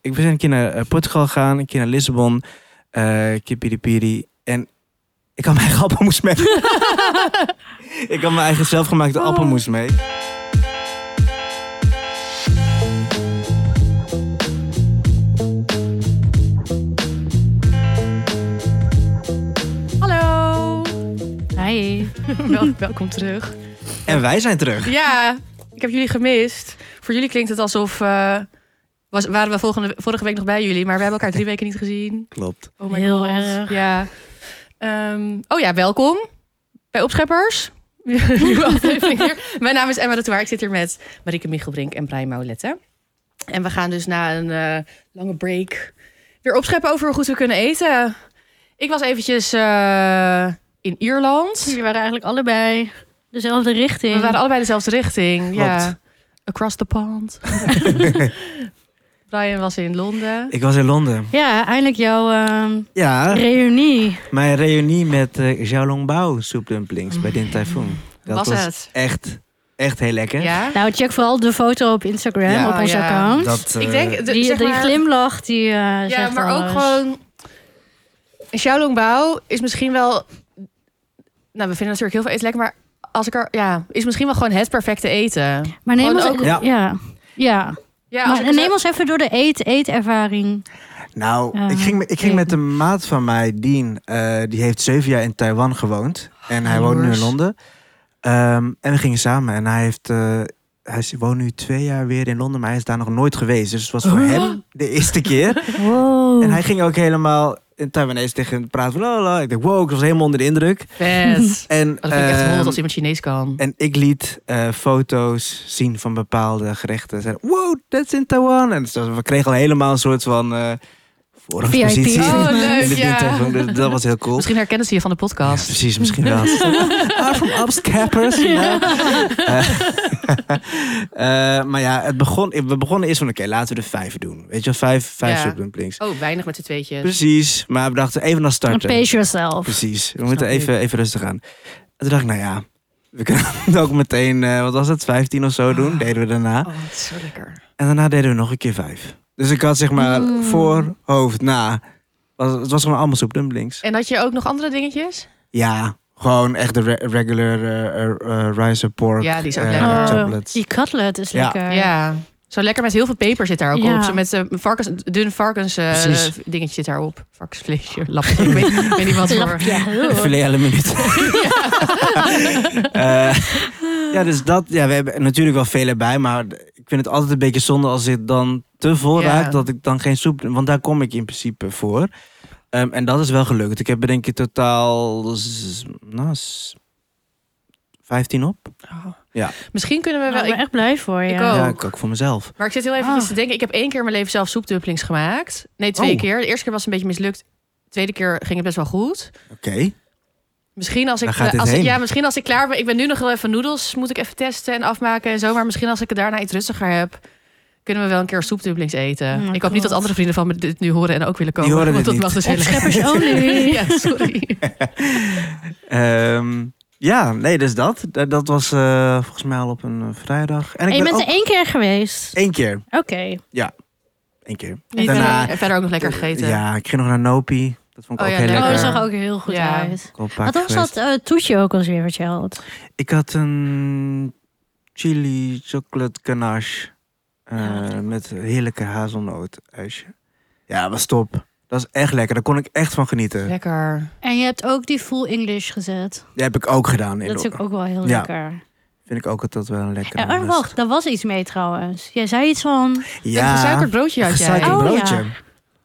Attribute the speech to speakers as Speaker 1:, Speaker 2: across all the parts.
Speaker 1: ik ben een keer naar eh, Portugal gegaan, een keer naar Lissabon, eh een keer Piripiri. En ik had mijn eigen appelmoes mee. ik had mijn eigen zelfgemaakte
Speaker 2: Oh.
Speaker 1: appelmoes mee.
Speaker 2: Hallo.
Speaker 3: Hi, Wel- welkom terug.
Speaker 1: En wij zijn terug.
Speaker 2: Ja, ik heb jullie gemist. Voor jullie klinkt het alsof... eh, was, waren we volgende, vorige week nog bij jullie, maar we hebben elkaar drie weken niet gezien.
Speaker 1: Klopt.
Speaker 2: Oh
Speaker 3: Heel erg.
Speaker 2: Ja. Ehm, oh ja, welkom bij Opscheppers. Nieuwe aflevering weer. Mijn naam is Emma de Toer. Ik zit hier met Marieke Michelbrink en Brian Maulette. En we gaan dus na een eh, lange break weer opscheppen over hoe goed we kunnen eten. Ik was eventjes eh, in Ierland.
Speaker 3: Jullie waren eigenlijk allebei dezelfde richting.
Speaker 2: We waren allebei dezelfde richting. Ja.
Speaker 1: Klopt.
Speaker 2: Across the pond. Brian was in Londen.
Speaker 1: Ik was in Londen.
Speaker 3: Ja, eindelijk jouw ehm,
Speaker 1: Ja,
Speaker 3: reunie.
Speaker 1: mijn reunie met eh Xiaolongbao soepdumplings bij Din Typhoon. Dat
Speaker 2: Was
Speaker 1: was,
Speaker 2: het?
Speaker 1: echt, echt heel lekker.
Speaker 2: Ja.
Speaker 3: Nou, check vooral de foto op Instagram,
Speaker 1: Ja.
Speaker 3: op ons
Speaker 2: Ja.
Speaker 3: account.
Speaker 1: Dat, eh,
Speaker 2: Ik denk, de-
Speaker 3: die,
Speaker 2: zeg
Speaker 3: die
Speaker 2: maar-
Speaker 3: glimlach, die eh,
Speaker 2: Ja,
Speaker 3: zegt
Speaker 2: maar ook
Speaker 3: alles.
Speaker 2: gewoon. Xiaolongbao is misschien wel. Nou, we vinden natuurlijk heel veel eten lekker, maar als ik er. Ja, is misschien wel gewoon het perfecte eten.
Speaker 3: Maar neem
Speaker 2: gewoon
Speaker 3: ons...
Speaker 2: ook-
Speaker 3: Ja. Ja.
Speaker 2: Ja,
Speaker 3: maar
Speaker 2: als ik er
Speaker 3: neem
Speaker 2: zo-
Speaker 3: ons even door de eet, eetervaring.
Speaker 1: Nou,
Speaker 2: Ah,
Speaker 3: Ja.
Speaker 1: ik, ging, met- ik ging met een maat van mij, Dean. eh, die heeft zeven jaar in Taiwan gewoond.
Speaker 2: Oh,
Speaker 1: En hij woont nu in
Speaker 2: Jaloers.
Speaker 1: Londen. Ehm, en we gingen samen. En hij, heeft, eh, hij is- woont nu twee jaar weer in Londen. Maar hij is daar nog nooit geweest. Dus het was voor hem de eerste keer.
Speaker 3: Wow.
Speaker 1: En hij ging ook helemaal in Taiwanese tegen hem praten. Van, la, la, la. Ik dacht, wow, ik was helemaal onder de indruk.
Speaker 2: Vet.
Speaker 1: En,
Speaker 2: Maar Oh, dat vind ik echt
Speaker 1: ehm,
Speaker 2: hond als iemand Chinees kan.
Speaker 1: en ik liet eh, foto's zien van bepaalde gerechten. Zeiden, wow, that's in Taiwan. En zo- we kregen al helemaal een soort van... eh voorrangspositie.
Speaker 3: VIP.
Speaker 2: Oh, leuk,
Speaker 1: in de
Speaker 2: ja.
Speaker 1: Dintagon. Dus dat was heel cool.
Speaker 2: Misschien herkennen ze je van de
Speaker 1: Ja,
Speaker 2: podcast.
Speaker 1: precies, misschien wel. ah, van Abskappers. Ja. Eh, eh, maar ja, het begon, we begonnen eerst van, oké, laten we er vijf doen. Weet je wel, vijf, vijf
Speaker 2: Ja.
Speaker 1: soepdumplings.
Speaker 2: Oh, weinig met z'n tweetjes.
Speaker 1: Precies, maar we dachten even naar
Speaker 3: En
Speaker 1: starten.
Speaker 3: Pace yourself.
Speaker 1: Precies, we moeten
Speaker 2: ik.
Speaker 1: even, even rustig aan. En toen dacht ik, nou ja, we kunnen het ook meteen, eh, wat was het, 15 of
Speaker 2: Ah.
Speaker 1: zo doen, deden we daarna.
Speaker 2: Oh, het is zo lekker.
Speaker 1: En daarna deden we nog een keer vijf. Dus ik had zeg maar
Speaker 3: Mm.
Speaker 1: voor, hoofd, na. Was, het was gewoon allemaal soepdumplings.
Speaker 2: En had je ook nog andere dingetjes?
Speaker 1: Ja, gewoon echt de re- regular eh, eh, eh, rice and pork.
Speaker 2: Ja, die is ook
Speaker 1: eh,
Speaker 2: lekker.
Speaker 3: Oh,
Speaker 1: chocolates.
Speaker 3: die cutlet is
Speaker 1: Ja.
Speaker 3: lekker.
Speaker 2: Ja. Eh, Zo lekker met heel veel peper zit daar ook
Speaker 3: Ja.
Speaker 2: op. Zo met eh, varkens, dun varkens eh,
Speaker 1: Precies.
Speaker 2: dingetje zit daar op. Varkensvleesje, lapje. ik, weet, ik weet niet wat voor.
Speaker 3: Lapje, heel.
Speaker 1: Filet à la minute. Eh, ja, dus dat. Ja, we hebben natuurlijk wel veel erbij, maar ik vind het altijd een beetje zonde als ik dan te vol
Speaker 2: Ja.
Speaker 1: raakt dat ik dan geen soep. Want daar kom ik in principe voor. Ehm, en dat is wel gelukt. Ik heb er denk ik totaal z- nou, z- 15 op. Ja.
Speaker 2: Misschien kunnen we
Speaker 3: Nou,
Speaker 2: wel.
Speaker 3: ik ben echt blij voor je.
Speaker 2: ik ook.
Speaker 1: Ja, ik ook voor mezelf.
Speaker 2: Maar ik zit heel even
Speaker 3: Ah.
Speaker 2: te denken. Ik heb één keer in mijn leven zelf soepdumplings gemaakt. Nee, twee
Speaker 1: Oh.
Speaker 2: keer. De eerste keer was het een beetje mislukt. De tweede keer ging het best wel goed.
Speaker 1: Oké.
Speaker 2: Misschien als ik,
Speaker 1: Waar gaat dit
Speaker 2: als ik-
Speaker 1: heen?
Speaker 2: ja, misschien als ik klaar ben. Ik ben nu nog wel even noedels. Moet ik even testen en afmaken en zo. Maar misschien als ik het daarna iets rustiger heb. Kunnen we wel een keer soepdumplings eten.
Speaker 3: Oh my
Speaker 2: ik hoop niet dat
Speaker 3: God.
Speaker 2: andere vrienden van me dit nu horen en ook willen komen.
Speaker 1: Die horen
Speaker 2: want
Speaker 1: dit
Speaker 2: dat mag dus
Speaker 1: niet.
Speaker 2: helemaal
Speaker 3: Opscheppers only.
Speaker 2: Ja, sorry.
Speaker 1: Ehm, ja, nee, dus dat. Dat, dat was eh, volgens mij al op een eh, vrijdag. En
Speaker 3: En
Speaker 1: ik
Speaker 3: je
Speaker 1: ben
Speaker 3: bent
Speaker 1: ook
Speaker 3: er één keer geweest.
Speaker 1: één keer.
Speaker 3: Oké.
Speaker 1: Één keer.
Speaker 3: Niet
Speaker 1: Daarna-
Speaker 3: meer.
Speaker 2: En verder ook nog lekker gegeten.
Speaker 1: Eh, Ja, ik ging nog naar Nopi. Dat vond ik
Speaker 2: Oh
Speaker 1: ook
Speaker 2: ja,
Speaker 1: heel
Speaker 2: daar-
Speaker 3: Oh,
Speaker 1: lekker.
Speaker 3: dat zag ook heel goed
Speaker 2: Ja.
Speaker 3: uit.
Speaker 1: Ik al een paar
Speaker 3: Wat
Speaker 1: keer
Speaker 3: was dat
Speaker 1: geweest.
Speaker 3: eh, toetje ook alweer wat je had?
Speaker 1: Ik had een chili chocolate ganache. eh, met heerlijke hazelnoot ijsje. Ja, was top. Dat was echt lekker. Daar kon ik echt van genieten.
Speaker 2: Lekker.
Speaker 3: En je hebt ook die full English gezet.
Speaker 1: Die heb ik ook gedaan. In
Speaker 3: Dat is
Speaker 1: Londen.
Speaker 3: ook, ook wel heel
Speaker 1: Ja.
Speaker 3: lekker.
Speaker 1: Vind ik ook altijd wel een lekker.
Speaker 3: En oh, wacht, daar was iets mee trouwens. Jij zei iets van...
Speaker 2: Een
Speaker 1: Ja,
Speaker 2: gesuikerd broodje had jij.
Speaker 1: gesuikerd
Speaker 3: Oh,
Speaker 1: broodje.
Speaker 3: ja.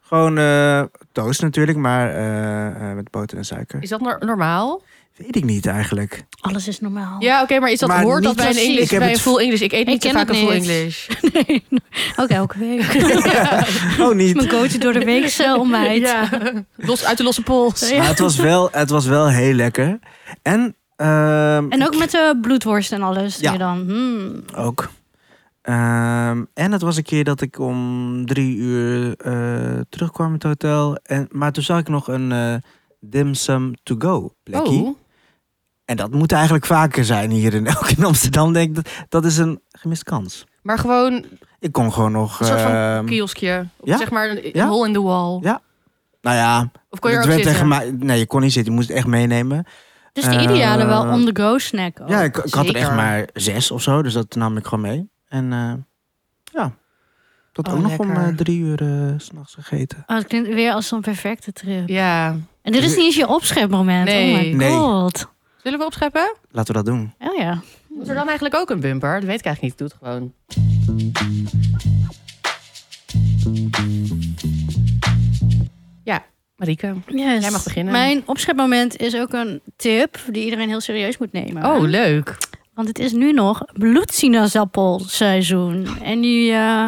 Speaker 1: Gewoon eh, toast natuurlijk, maar eh, eh, met boter en suiker.
Speaker 2: Is dat no- normaal?
Speaker 1: Weet ik niet eigenlijk.
Speaker 3: Alles is normaal.
Speaker 2: Ja, oké, maar is dat
Speaker 1: Maar
Speaker 2: hoort dat
Speaker 1: niet
Speaker 2: bij een
Speaker 1: klassiek.
Speaker 2: English,
Speaker 1: Ik heb
Speaker 2: bij een
Speaker 1: het
Speaker 2: full English? Ik eet niet te
Speaker 3: ken
Speaker 2: vaak een
Speaker 3: het
Speaker 2: full
Speaker 3: niet.
Speaker 2: English.
Speaker 3: Nee, ook elke week.
Speaker 1: Oh, niet.
Speaker 3: Mijn coach door de week zo ontbijt.
Speaker 2: Los, uit de losse pols. Oh,
Speaker 3: Ja.
Speaker 1: Maar het was wel, het was wel heel lekker. En, ehm,
Speaker 3: En ook met de bloedworst en alles.
Speaker 1: Ja.
Speaker 3: Ja. Dan. hmm.
Speaker 1: Ook. Ehm, en het was een keer dat ik om drie uur eh, terugkwam in het hotel. En, maar toen zag ik nog een eh dim sum to go plekje.
Speaker 2: Oh,
Speaker 1: En dat moet eigenlijk vaker zijn hier in, ook in Amsterdam. Denk ik. Dat, dat is een gemiste kans.
Speaker 2: maar gewoon
Speaker 1: Ik kon gewoon nog...
Speaker 2: Een soort
Speaker 1: ehm,
Speaker 2: van kioskje.
Speaker 1: ja?
Speaker 2: Zeg maar een
Speaker 1: Ja?
Speaker 2: hole in the wall.
Speaker 1: Ja. nou ja,
Speaker 2: Of kon je er
Speaker 1: het
Speaker 2: ook
Speaker 1: werd
Speaker 2: zitten?
Speaker 1: tegen mij... Nee, je kon niet zitten. Je moest het echt meenemen.
Speaker 3: Dus de ideale wel
Speaker 1: Eh,
Speaker 3: on-the-go snack ook.
Speaker 1: ja, ik, ik had er echt
Speaker 2: Oh, zeker.
Speaker 1: maar zes of zo. Dus dat nam ik gewoon mee. En eh, ja, dat
Speaker 2: Oh,
Speaker 1: ook nog om
Speaker 2: lekker.
Speaker 1: eh, drie uur eh, 's s'nachts gegeten.
Speaker 3: Oh, het klinkt weer als zo'n perfecte trip.
Speaker 2: Ja.
Speaker 3: En dit is niet eens je opschepmoment.
Speaker 2: Nee.
Speaker 3: Oh my
Speaker 1: Nee.
Speaker 3: god.
Speaker 2: Zullen we opscheppen?
Speaker 1: Laten we dat doen.
Speaker 3: Oh ja.
Speaker 2: Is er dan eigenlijk ook een bumper? Dat weet ik eigenlijk niet. Doe het gewoon. Ja, Marieke.
Speaker 3: Yes.
Speaker 2: Jij mag beginnen.
Speaker 3: Mijn opschepmoment is ook een tip die iedereen heel serieus moet nemen.
Speaker 2: Oh, leuk.
Speaker 3: Want het is nu nog bloedsinaasappelseizoen. En die eh,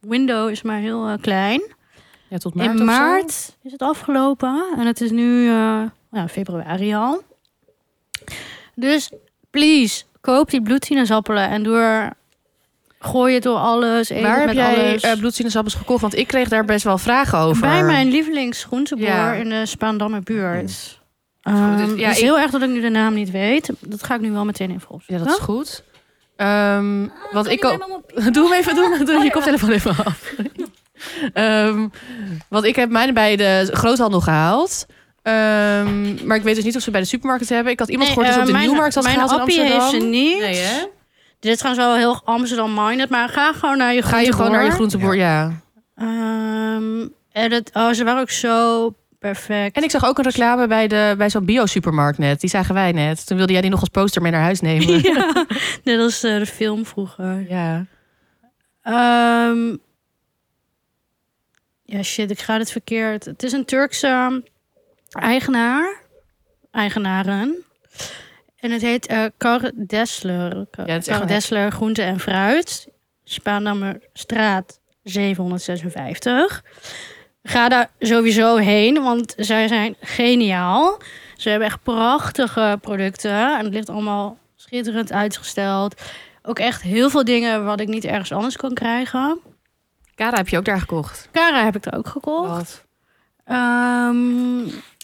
Speaker 3: window is maar heel eh, klein.
Speaker 2: Ja, tot maart of zo?
Speaker 3: In maart is het afgelopen en het is nu eh, nou, februari al. Dus please, koop die bloedsinaasappelen en doe er, gooi het door alles, eet
Speaker 2: Waar
Speaker 3: het
Speaker 2: heb
Speaker 3: met
Speaker 2: jij
Speaker 3: alles.
Speaker 2: eh bloedsinaasappels gekocht? Want ik kreeg daar best wel vragen over.
Speaker 3: Bij mijn lievelingsgroenteboer
Speaker 2: Ja.
Speaker 3: in de Spaandammer buurt.
Speaker 2: Goed, dus-
Speaker 3: Ehm,
Speaker 2: ja,
Speaker 3: het is
Speaker 2: ik-
Speaker 3: heel erg dat ik nu de naam niet weet. Dat ga ik nu wel meteen even
Speaker 2: Ja,
Speaker 3: opzoeken.
Speaker 2: dat is goed. Ehm, want ik ook... Doe hem even, doe,
Speaker 3: Oh,
Speaker 2: doe je koptelefoon even af. Ehm, want ik heb mijne bij de groothandel gehaald. Ehm, maar ik weet dus niet of ze bij de supermarkt hebben. Ik had iemand
Speaker 3: Nee,
Speaker 2: gehoord die ze
Speaker 3: eh,
Speaker 2: op de
Speaker 3: mijn-
Speaker 2: Nieuwmarkt had
Speaker 3: mijn
Speaker 2: gehaald in
Speaker 3: appie
Speaker 2: Amsterdam.
Speaker 3: heeft ze niet.
Speaker 2: Nee, hè?
Speaker 3: Dit is trouwens wel heel Amsterdam-minded, maar ga gewoon naar je
Speaker 2: Ga je gewoon
Speaker 3: groenteboer.
Speaker 2: naar je groenteboer, ja.
Speaker 3: Ehm, en het, oh, ze waren ook zo perfect.
Speaker 2: En ik zag ook een reclame bij, de- bij zo'n bio-supermarkt net. Die zagen wij net. Toen wilde jij die nog als poster mee naar huis nemen.
Speaker 3: ja, net als eh, de film vroeger.
Speaker 2: ja.
Speaker 3: Ehm, ja, shit, ik ga dit verkeerd. Het is een Turkse eigenaar. Eigenaren. En het heet eh Kar Dessler. Kar,
Speaker 2: Ja, het is echt
Speaker 3: Kar
Speaker 2: een-
Speaker 3: Dessler Groente en Fruit. Spaandammer straat 756. Ga daar sowieso heen, want zij zijn geniaal. Ze hebben echt prachtige producten. En het ligt allemaal schitterend uitgesteld. Ook echt heel veel dingen wat ik niet ergens anders kon krijgen.
Speaker 2: Kara heb je ook daar gekocht.
Speaker 3: Kara heb ik er ook gekocht.
Speaker 2: Wat?
Speaker 3: Ehm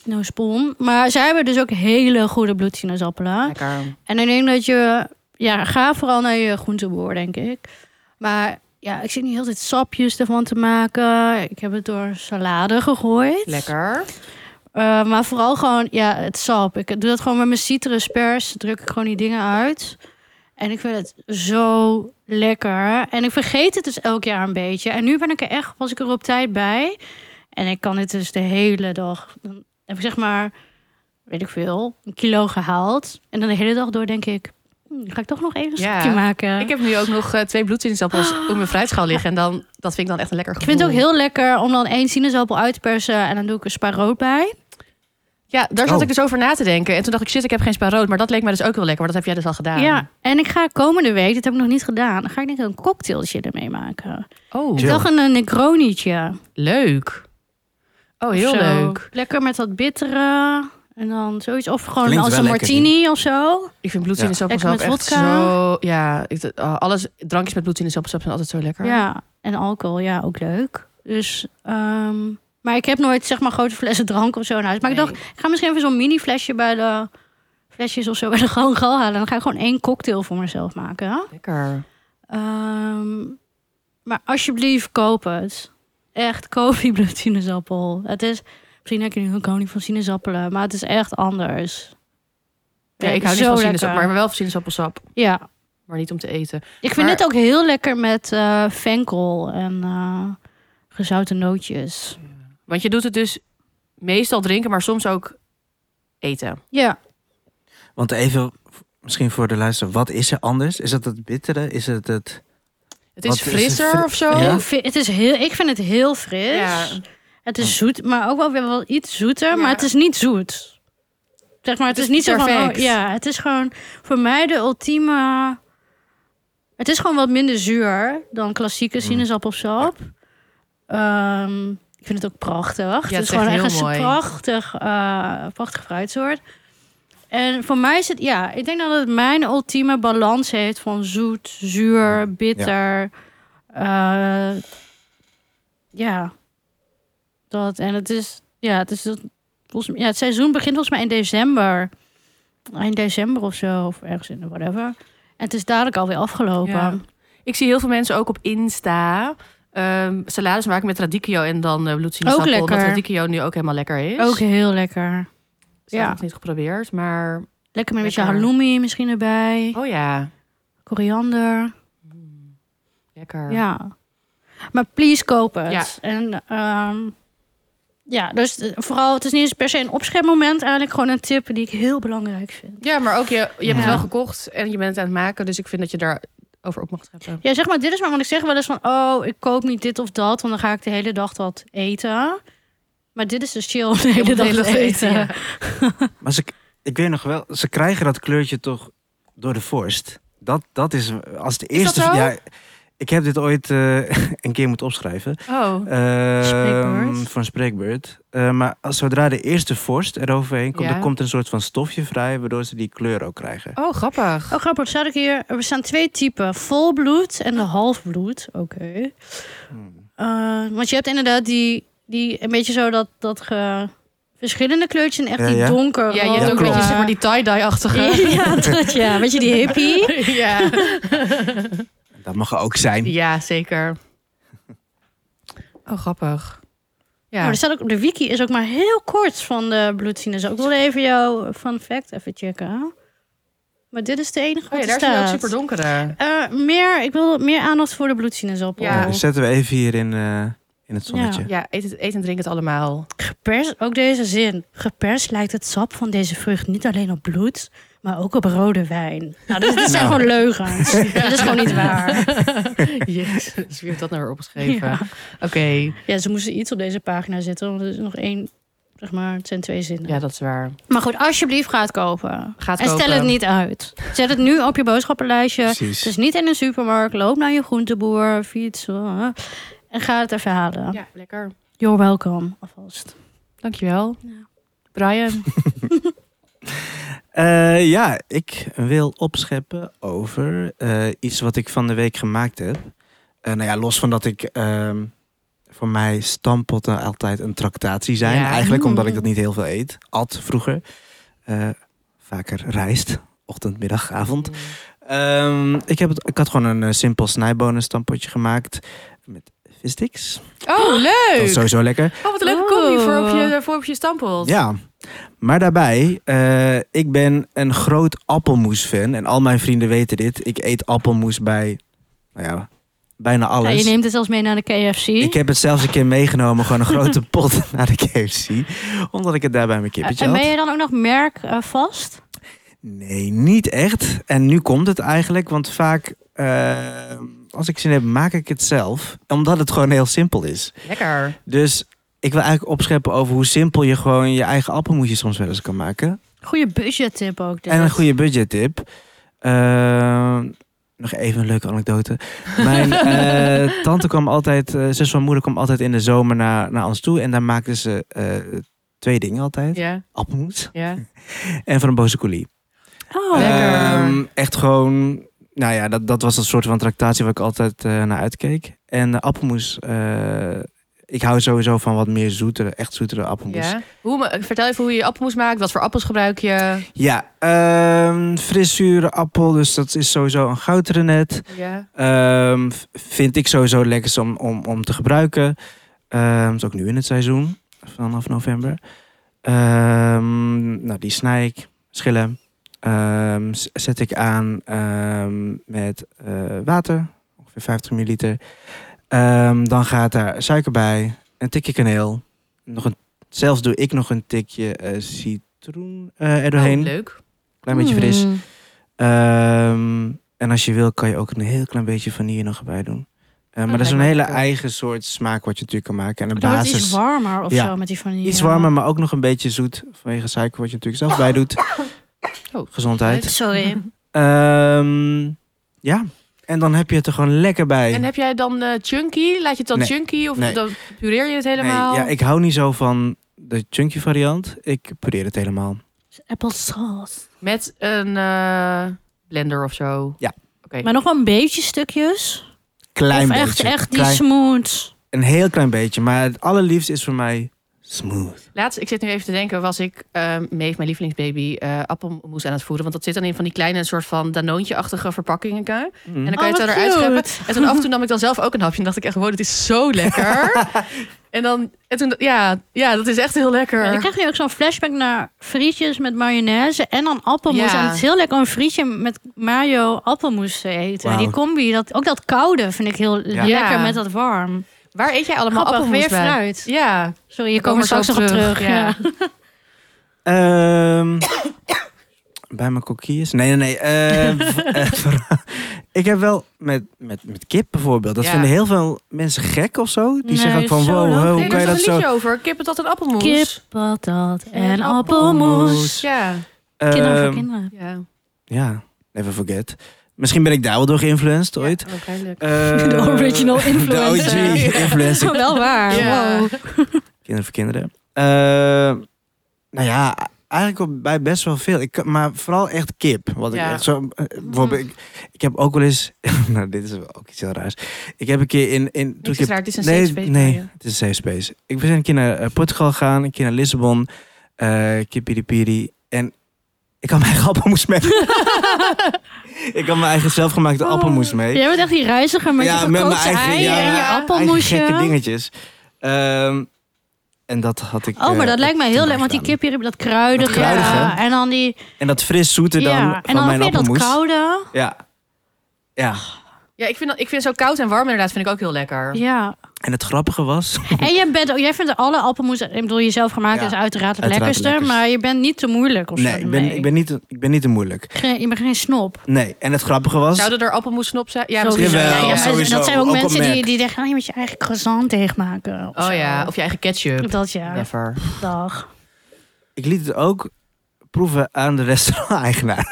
Speaker 3: no spon. Maar zij hebben dus ook hele goede bloedsinaasappelen.
Speaker 2: Lekker.
Speaker 3: En ik denk dat je... Ja, ga vooral naar je groenteboer, denk ik. Maar ja, ik zit niet heel de tijd sapjes ervan te maken. Ik heb het door salade gegooid.
Speaker 2: Lekker.
Speaker 3: Eh, maar vooral gewoon, ja, het sap. Ik doe dat gewoon met mijn citruspers. Druk ik gewoon die dingen uit. En ik vind het zo lekker. En ik vergeet het dus elk jaar een beetje. En nu ben ik er echt, was ik er op tijd bij. En ik kan dit dus de hele dag. Dan heb ik zeg maar, weet ik veel, een kilo gehaald. En dan de hele dag door denk ik, "Hm, ga ik toch nog even een
Speaker 2: Ja.
Speaker 3: stukje maken.
Speaker 2: Ik heb nu ook nog eh, twee bloedsinaasappels op mijn fruitschaal liggen. En dan, dat vind ik dan echt een lekker
Speaker 3: Ik
Speaker 2: gevoel.
Speaker 3: vind het ook heel lekker om dan één sinaasappel uit te persen. En dan doe ik een spa rood bij.
Speaker 2: Ja, daar zat
Speaker 1: Oh.
Speaker 2: ik dus over na te denken. En toen dacht ik, shit, ik heb geen spaarrood. Maar dat leek mij dus ook heel lekker. Maar dat heb jij dus al gedaan.
Speaker 3: Ja, en ik ga komende week, dit heb ik nog niet gedaan, dan ga ik denk ik een cocktailtje ermee maken.
Speaker 2: Oh,
Speaker 1: Chill.
Speaker 3: Toch een eh, Negronietje.
Speaker 2: leuk. Oh,
Speaker 3: of
Speaker 2: heel
Speaker 3: zo.
Speaker 2: leuk.
Speaker 3: Lekker met dat bittere. En dan zoiets. Of gewoon
Speaker 1: Klinkt
Speaker 3: als
Speaker 1: wel
Speaker 3: een
Speaker 1: lekker,
Speaker 3: martini of zo.
Speaker 2: Ik vind bloedsinaasappels
Speaker 3: Ja.
Speaker 2: ook
Speaker 3: Lekker met
Speaker 2: echt
Speaker 3: vodka.
Speaker 2: zo... Ja, ik, oh, alles, drankjes met bloedsinaasappels zijn altijd zo lekker.
Speaker 3: Ja, en alcohol, ja, ook leuk. Dus, ehm, maar ik heb nooit zeg maar grote flessen drank of zo in huis. Maar ik
Speaker 2: Nee.
Speaker 3: dacht, ik ga misschien even zo'n mini flesje bij de flesjes of zo bij de gewoon gal halen. Dan ga ik gewoon één cocktail voor mezelf maken.
Speaker 2: Lekker.
Speaker 3: Ehm, maar alsjeblieft, koop het. Echt, koop die bloedsinaasappel. Het is, misschien heb je nu een koning van sinaasappelen, maar het is echt anders.
Speaker 2: Ja,
Speaker 3: Ja,
Speaker 2: ik hou niet
Speaker 3: zo
Speaker 2: van
Speaker 3: lekker.
Speaker 2: sinaasappel, maar wel van sinaasappelsap.
Speaker 3: Ja,
Speaker 2: Maar niet om te eten.
Speaker 3: ik vind
Speaker 2: Maar-
Speaker 3: het ook heel lekker met eh, venkel en eh, gezouten nootjes.
Speaker 2: Want je doet het dus meestal drinken, maar soms ook eten.
Speaker 3: Ja,
Speaker 1: Want even, misschien voor de luisteraar, wat is er anders? Is het het bittere? Is het het...
Speaker 2: Het is
Speaker 1: Wat is het
Speaker 2: frisser
Speaker 1: fri-
Speaker 2: of zo.
Speaker 1: Ja?
Speaker 3: heel fri- het is heel, Oh, ik vind het heel fris.
Speaker 2: Ja.
Speaker 3: Het is zoet, maar ook wel weer wel iets zoeter.
Speaker 2: Oh. Ja.
Speaker 3: Maar het is niet zoet. Zeg maar, het,
Speaker 2: Het
Speaker 3: is,
Speaker 2: is
Speaker 3: niet zo van...
Speaker 2: perfect.
Speaker 3: oh, ja, het is gewoon voor mij de ultieme... Het is gewoon wat minder zuur dan
Speaker 2: Mm.
Speaker 3: klassieke sinaasappelsap. Ehm, ik vind het ook prachtig. het is,
Speaker 2: het is
Speaker 3: gewoon
Speaker 2: echt heel
Speaker 3: echt een s-
Speaker 2: mooi.
Speaker 3: prachtig, eh prachtig fruitsoort. En voor mij is het... Ja, ik denk dat het mijn ultieme balans heeft van zoet, zuur, bitter... Eh, ja. Dat, en het is, ja, het is, dat- volgens, mij- ja, het seizoen begint volgens mij in december. Eind december of zo, of ergens in, whatever. En het is dadelijk alweer afgelopen.
Speaker 2: Ja.
Speaker 3: Ja,
Speaker 2: Ik Ik zie heel veel mensen ook op Insta ehm salades maken met radicchio en dan eh bloedsinaasappel.
Speaker 3: Ook lekker.
Speaker 2: Omdat radicchio nu ook helemaal lekker is.
Speaker 3: Ook heel lekker.
Speaker 2: Dus dat heb
Speaker 3: ja.
Speaker 2: ik niet geprobeerd, maar...
Speaker 3: Lekker met een beetje
Speaker 2: Lekker.
Speaker 3: halloumi misschien erbij.
Speaker 2: Oh ja,
Speaker 3: Koriander.
Speaker 2: lekker.
Speaker 3: Ja. Maar please koop het.
Speaker 2: Ja.
Speaker 3: En ehm, ja, dus eh, vooral, het is niet eens per se een opschepmoment. Eigenlijk gewoon een tip die ik heel belangrijk vind.
Speaker 2: Ja, maar ook je, je hebt het
Speaker 1: Ja.
Speaker 2: wel gekocht en je bent het aan het maken. Dus ik vind dat je daarover op mag treppen.
Speaker 3: Ja, zeg maar, dit is maar, want ik zeg wel eens van... oh, ik koop niet dit of dat, want dan ga ik de hele dag dat eten. Maar dit is dus chill, om de hele
Speaker 2: Je moet
Speaker 3: dag dat eten.
Speaker 2: ja.
Speaker 1: Maar ze, ik weet nog wel, ze krijgen dat kleurtje toch door de vorst. Dat, dat is als de eerste.
Speaker 2: zo?
Speaker 1: Ja, ik heb dit ooit eh, een keer moeten opschrijven.
Speaker 2: Oh,
Speaker 1: Ehm,
Speaker 3: Spreekbeurt.
Speaker 1: Voor een spreekbeurt. Eh, maar als, zodra de eerste vorst eroverheen komt,
Speaker 2: Ja.
Speaker 1: dan komt er een soort van stofje vrij, waardoor ze die kleur ook krijgen.
Speaker 2: oh grappig.
Speaker 3: Oh, grappig. Zat ik hier... Er staan twee typen. Volbloed en de halfbloed. Oké.
Speaker 1: Hmm.
Speaker 3: Eh, want je hebt inderdaad die, die een beetje zo dat, dat ge- verschillende kleurtjes en echt
Speaker 1: Ja,
Speaker 3: die
Speaker 1: ja.
Speaker 3: donker.
Speaker 2: Oh, ja, je hebt ook een
Speaker 1: klopt.
Speaker 2: beetje zeg maar, die tie-dye-achtige.
Speaker 3: ja, dat, ja, weet je, die hippie.
Speaker 2: ja.
Speaker 1: Dat mag er ook zijn.
Speaker 2: ja, zeker. Oh, grappig.
Speaker 3: Ja.
Speaker 2: Ja,
Speaker 3: Oh, er staat ook, de wiki is ook maar heel kort van de bloedsinus. Ik wilde even jouw eh, fun fact even checken. Maar dit is de enige
Speaker 2: oh,
Speaker 3: wat
Speaker 2: ja
Speaker 3: er
Speaker 2: daar zijn
Speaker 3: staat.
Speaker 2: ook super donkere.
Speaker 3: Eh, meer, ik wil meer aandacht voor de bloedsinaasappel.
Speaker 2: Ja.
Speaker 1: Ja, dus zetten we even hier in, eh, in het zonnetje.
Speaker 2: Ja, eet, het, eet en drink het allemaal.
Speaker 3: Gepers, ook deze zin. Geperst lijkt het sap van deze vrucht niet alleen op bloed, maar ook op rode wijn. Nou, dit, dit zijn
Speaker 1: Nou.
Speaker 3: gewoon leugens. Dit is gewoon niet waar.
Speaker 2: Jezus, wie heeft dat nou weer opgeschreven?
Speaker 3: Ja.
Speaker 2: Oké,
Speaker 3: Ja, ze moesten iets op deze pagina zetten, want er is nog één, zeg maar, het zijn twee zinnen.
Speaker 2: ja, dat is waar.
Speaker 3: Maar goed, alsjeblieft ga het kopen.
Speaker 2: Gaat
Speaker 3: en stel het niet uit. Zet het nu op je boodschappenlijstje.
Speaker 1: Precies.
Speaker 3: Dus Het is niet in een supermarkt. Loop naar je groenteboer, fiets. eh, En ga het even halen.
Speaker 2: Ja, lekker.
Speaker 3: You're welcome, alvast.
Speaker 2: Dankjewel.
Speaker 3: Ja.
Speaker 2: Brian.
Speaker 1: Eh, ja, ik wil opscheppen over eh, iets wat ik van de week gemaakt heb. Eh, nou ja, los van dat ik ehm, voor mij stampotten altijd een tractatie zijn.
Speaker 2: Ja.
Speaker 1: Eigenlijk omdat
Speaker 3: Mm.
Speaker 1: ik dat niet heel veel eet. At vroeger. Eh, vaker rijst. Ochtend, middag, avond.
Speaker 2: Oh,
Speaker 1: Ehm, ik, heb het, ik had gewoon een eh, simpel snijbonen stampotje gemaakt. Met vissticks.
Speaker 2: Oh,
Speaker 1: Dat
Speaker 2: leuk.
Speaker 1: is sowieso lekker.
Speaker 2: Oh, wat een leuke
Speaker 3: Oh.
Speaker 2: combi voor op je, voor op je stampelt.
Speaker 1: Ja, maar daarbij, eh, ik ben een groot appelmoes-fan. En al mijn vrienden weten dit. Ik eet appelmoes bij, nou ja, bijna
Speaker 3: Ja,
Speaker 1: alles.
Speaker 3: je neemt het zelfs mee naar de KFC.
Speaker 1: ik heb het zelfs een keer meegenomen, gewoon een grote pot naar de KFC. Omdat ik het daar bij mijn kippetje
Speaker 3: Eh, en
Speaker 1: had.
Speaker 3: ben je dan ook nog merk eh, vast?
Speaker 1: Nee, niet echt. En nu komt het eigenlijk, want vaak... eh, als ik zin heb, maak ik het zelf. Omdat het gewoon heel simpel is.
Speaker 2: Lekker.
Speaker 1: Dus ik wil eigenlijk opscheppen over hoe simpel je gewoon je eigen appelmoesje soms wel eens kan maken.
Speaker 3: Goede budgettip ook.
Speaker 2: Dus
Speaker 3: dit.
Speaker 1: En een goede budgettip. Ehm, nog even een leuke anekdote. Mijn eh, tante kwam altijd, eh, zus van moeder kwam altijd in de zomer naar, naar ons toe. En daar maakten ze eh, twee dingen altijd.
Speaker 2: Ja,
Speaker 1: Appelmoes
Speaker 2: ja.
Speaker 1: en frambozen coulis.
Speaker 3: Oh,
Speaker 2: lekker.
Speaker 1: Ehm, echt gewoon, nou ja, dat, dat was een soort van tractatie waar ik altijd eh, naar uitkeek. En de appelmoes, eh, ik hou sowieso van wat meer zoetere, echt zoetere appelmoes.
Speaker 2: ja. Hoe, ma- vertel even hoe je je appelmoes maakt. Wat voor appels gebruik je?
Speaker 1: Ja, ehm fris zure appel, dus dat is sowieso een goudrenet.
Speaker 2: Ja.
Speaker 1: Ehm, v- vind ik sowieso lekker om, om, om te gebruiken. Ehm, het is ook nu in het seizoen, vanaf november. Ehm, nou, die snij ik, schillen. Ehm, z- zet ik aan ehm, met eh, water, ongeveer 50 milliliter. Ehm, dan gaat daar suiker bij, een tikje kaneel. Nog een, zelfs doe ik nog een tikje eh, citroen eh er doorheen.
Speaker 2: Oh, leuk.
Speaker 1: Klein beetje fris.
Speaker 3: Mm.
Speaker 1: Ehm, en als je wil, kan je ook een heel klein beetje vanille nog erbij doen. Eh, maar dat is
Speaker 2: lijkt
Speaker 1: een
Speaker 2: me
Speaker 1: hele
Speaker 2: lekker.
Speaker 1: eigen soort smaak wat je natuurlijk kan maken. En een
Speaker 3: Dan wordt het iets
Speaker 1: basis.
Speaker 3: warmer of
Speaker 1: Ja.
Speaker 3: zo met die vanille.
Speaker 1: Iets warmer, maar ook nog een beetje zoet vanwege suiker, wat je natuurlijk zelf bij doet.
Speaker 2: Oh.
Speaker 1: Gezondheid.
Speaker 3: Sorry.
Speaker 1: Ehm, ja, en dan heb je het er gewoon lekker bij.
Speaker 2: En heb jij dan eh, chunky? Laat je het dan
Speaker 1: Nee.
Speaker 2: chunky? Of
Speaker 1: Nee.
Speaker 2: dan pureer je het
Speaker 1: Nee,
Speaker 2: helemaal?
Speaker 1: ja, ik hou niet zo van de chunky variant. Ik probeer het helemaal.
Speaker 3: Applesauce.
Speaker 2: Met een eh, blender of zo?
Speaker 1: Ja.
Speaker 2: Oké.
Speaker 3: Maar nog wel een beetje stukjes.
Speaker 1: Klein
Speaker 3: of
Speaker 1: beetje.
Speaker 3: echt, echt die
Speaker 1: Klein-
Speaker 3: smooth.
Speaker 1: een heel klein beetje. Maar het allerliefst is voor mij Smooth.
Speaker 2: Laatst, ik zit nu even te denken, was ik ehm Meef, mijn lievelingsbaby, eh appelmoes aan het voeren. Want dat zit dan in van die kleine soort van danoontje-achtige verpakkingen. En dan kan je
Speaker 3: Oh,
Speaker 2: het
Speaker 3: wat
Speaker 2: zo eruit scheppen.
Speaker 3: cute.
Speaker 2: En toen af en toe nam ik dan zelf ook een hapje. En dacht ik echt, wow, dit is zo lekker. en dan, en toen, ja, ja, dat is echt heel lekker.
Speaker 3: Ja, ik krijg nu ook zo'n flashback naar frietjes met mayonaise en dan appelmoes.
Speaker 2: Ja.
Speaker 3: En het is heel lekker om een frietje met mayo appelmoes te eten.
Speaker 1: Wauw.
Speaker 3: Die combi, dat, ook dat koude vind ik heel
Speaker 1: Ja.
Speaker 3: lekker
Speaker 2: Ja.
Speaker 3: met dat warm.
Speaker 2: Waar eet jij allemaal
Speaker 3: Grappig,
Speaker 2: appelmoes
Speaker 3: weer
Speaker 2: bij?
Speaker 3: fruit.
Speaker 2: Ja,
Speaker 3: Sorry, je
Speaker 2: komen
Speaker 3: komt er straks
Speaker 2: zo
Speaker 3: nog op terug. Ja.
Speaker 1: Ehm, bij mijn kokkies? Nee, nee, nee. eh, v- eh, vooral- ik heb wel met, met, met kip bijvoorbeeld. Dat
Speaker 2: Ja.
Speaker 1: vinden heel veel mensen gek of zo. Die
Speaker 3: Nee,
Speaker 1: zeggen ook van,
Speaker 3: zo
Speaker 1: wow,
Speaker 3: leuk.
Speaker 1: wow,
Speaker 3: Nee,
Speaker 1: hoe
Speaker 2: Nee,
Speaker 1: kan
Speaker 2: daar
Speaker 1: je dat
Speaker 2: is een
Speaker 1: zo...
Speaker 2: liedje over. Kip, dat en appelmoes.
Speaker 3: Kip, patat en
Speaker 2: En
Speaker 3: appelmoes.
Speaker 1: appelmoes.
Speaker 2: Ja,
Speaker 3: Kinderen voor
Speaker 1: Ehm,
Speaker 3: kinderen.
Speaker 2: ja.
Speaker 1: Ja, never forget. Misschien ben ik daar wel door geïnfluenced ooit.
Speaker 2: Ja, waarschijnlijk.
Speaker 1: Eh,
Speaker 3: De original influencer.
Speaker 1: De OG-influencer.
Speaker 3: Wel waar.
Speaker 2: Ja.
Speaker 3: Wow.
Speaker 1: Kinderen voor kinderen. Eh, nou ja, eigenlijk wel bij best wel veel. Ik, kan- maar vooral echt kip. Wat
Speaker 2: Ja. Mhm.
Speaker 1: ik echt zo. eh, Bijvoorbeeld, ik, ik heb ook wel eens. nou, dit is wel ook iets heel raars. Ik heb een keer in. in toen
Speaker 2: Niks
Speaker 1: ik
Speaker 2: is
Speaker 1: heb-
Speaker 2: raar, het is een
Speaker 1: nee,
Speaker 2: safe space
Speaker 1: nee,
Speaker 2: voor je.
Speaker 1: het is een safe space. Ik ben een keer naar eh, Portugal gegaan, een keer naar Lissabon, eh Kipiripiri. En ik had mijn eigen appelmoes mee. ik had mijn eigen zelfgemaakte
Speaker 2: Oh,
Speaker 1: appelmoes mee.
Speaker 3: Jij bent echt die reiziger met
Speaker 1: Ja,
Speaker 3: je
Speaker 1: met mijn
Speaker 3: gekookte
Speaker 1: eigen-
Speaker 3: ei
Speaker 1: ja,
Speaker 3: en je
Speaker 2: ja.
Speaker 3: appelmoesje.
Speaker 1: Eigen gekke dingetjes. Ehm, en dat had ik.
Speaker 3: Oh, maar
Speaker 1: eh,
Speaker 3: dat lijkt mij
Speaker 1: toen
Speaker 3: heel lekker. Want die
Speaker 1: gedaan.
Speaker 3: kip hier, dat kruidige.
Speaker 1: Dat kruidige.
Speaker 3: ja, En dan die...
Speaker 1: En dat fris zoete dan
Speaker 3: ja, en
Speaker 1: van
Speaker 3: dan
Speaker 1: mijn
Speaker 3: weer dat
Speaker 1: appelmoes.
Speaker 3: koude.
Speaker 1: Ja. Ja.
Speaker 2: Ja, ik vind, dat- ik vind zo koud en warm inderdaad, vind ik ook heel lekker.
Speaker 3: Ja.
Speaker 1: En het grappige was.
Speaker 2: Oh,
Speaker 3: En jij, bent, ook- jij vindt alle appelmoes... Ik bedoel, jezelf gemaakt
Speaker 1: Ja,
Speaker 3: is uiteraard het
Speaker 1: uiteraard
Speaker 3: lekkerste.
Speaker 1: het lekkerst.
Speaker 3: Maar je bent niet te moeilijk of zo.
Speaker 1: nee, ik ben,
Speaker 3: ermee.
Speaker 1: ik, ben niet, te- ik ben niet te moeilijk.
Speaker 3: Geen- je bent geen snob.
Speaker 1: Nee. En het grappige was.
Speaker 2: Zouden er appelmoes op zijn? Ja,
Speaker 3: Sowieso.
Speaker 2: misschien wel.
Speaker 1: Jawel,
Speaker 2: Ja,
Speaker 3: Ja,
Speaker 2: ja.
Speaker 3: en
Speaker 1: sowieso.
Speaker 3: Dat zijn ook,
Speaker 1: Ook op
Speaker 3: mensen die,
Speaker 1: Mac.
Speaker 3: die denken... "Ah, je moet je eigen croissant deegmaken. of zo.
Speaker 2: Oh ja, of je eigen ketchup.
Speaker 3: Dat ja.
Speaker 2: Whatever.
Speaker 3: Dag.
Speaker 1: Ik liet het ook proeven aan de restaurant-eigenaar.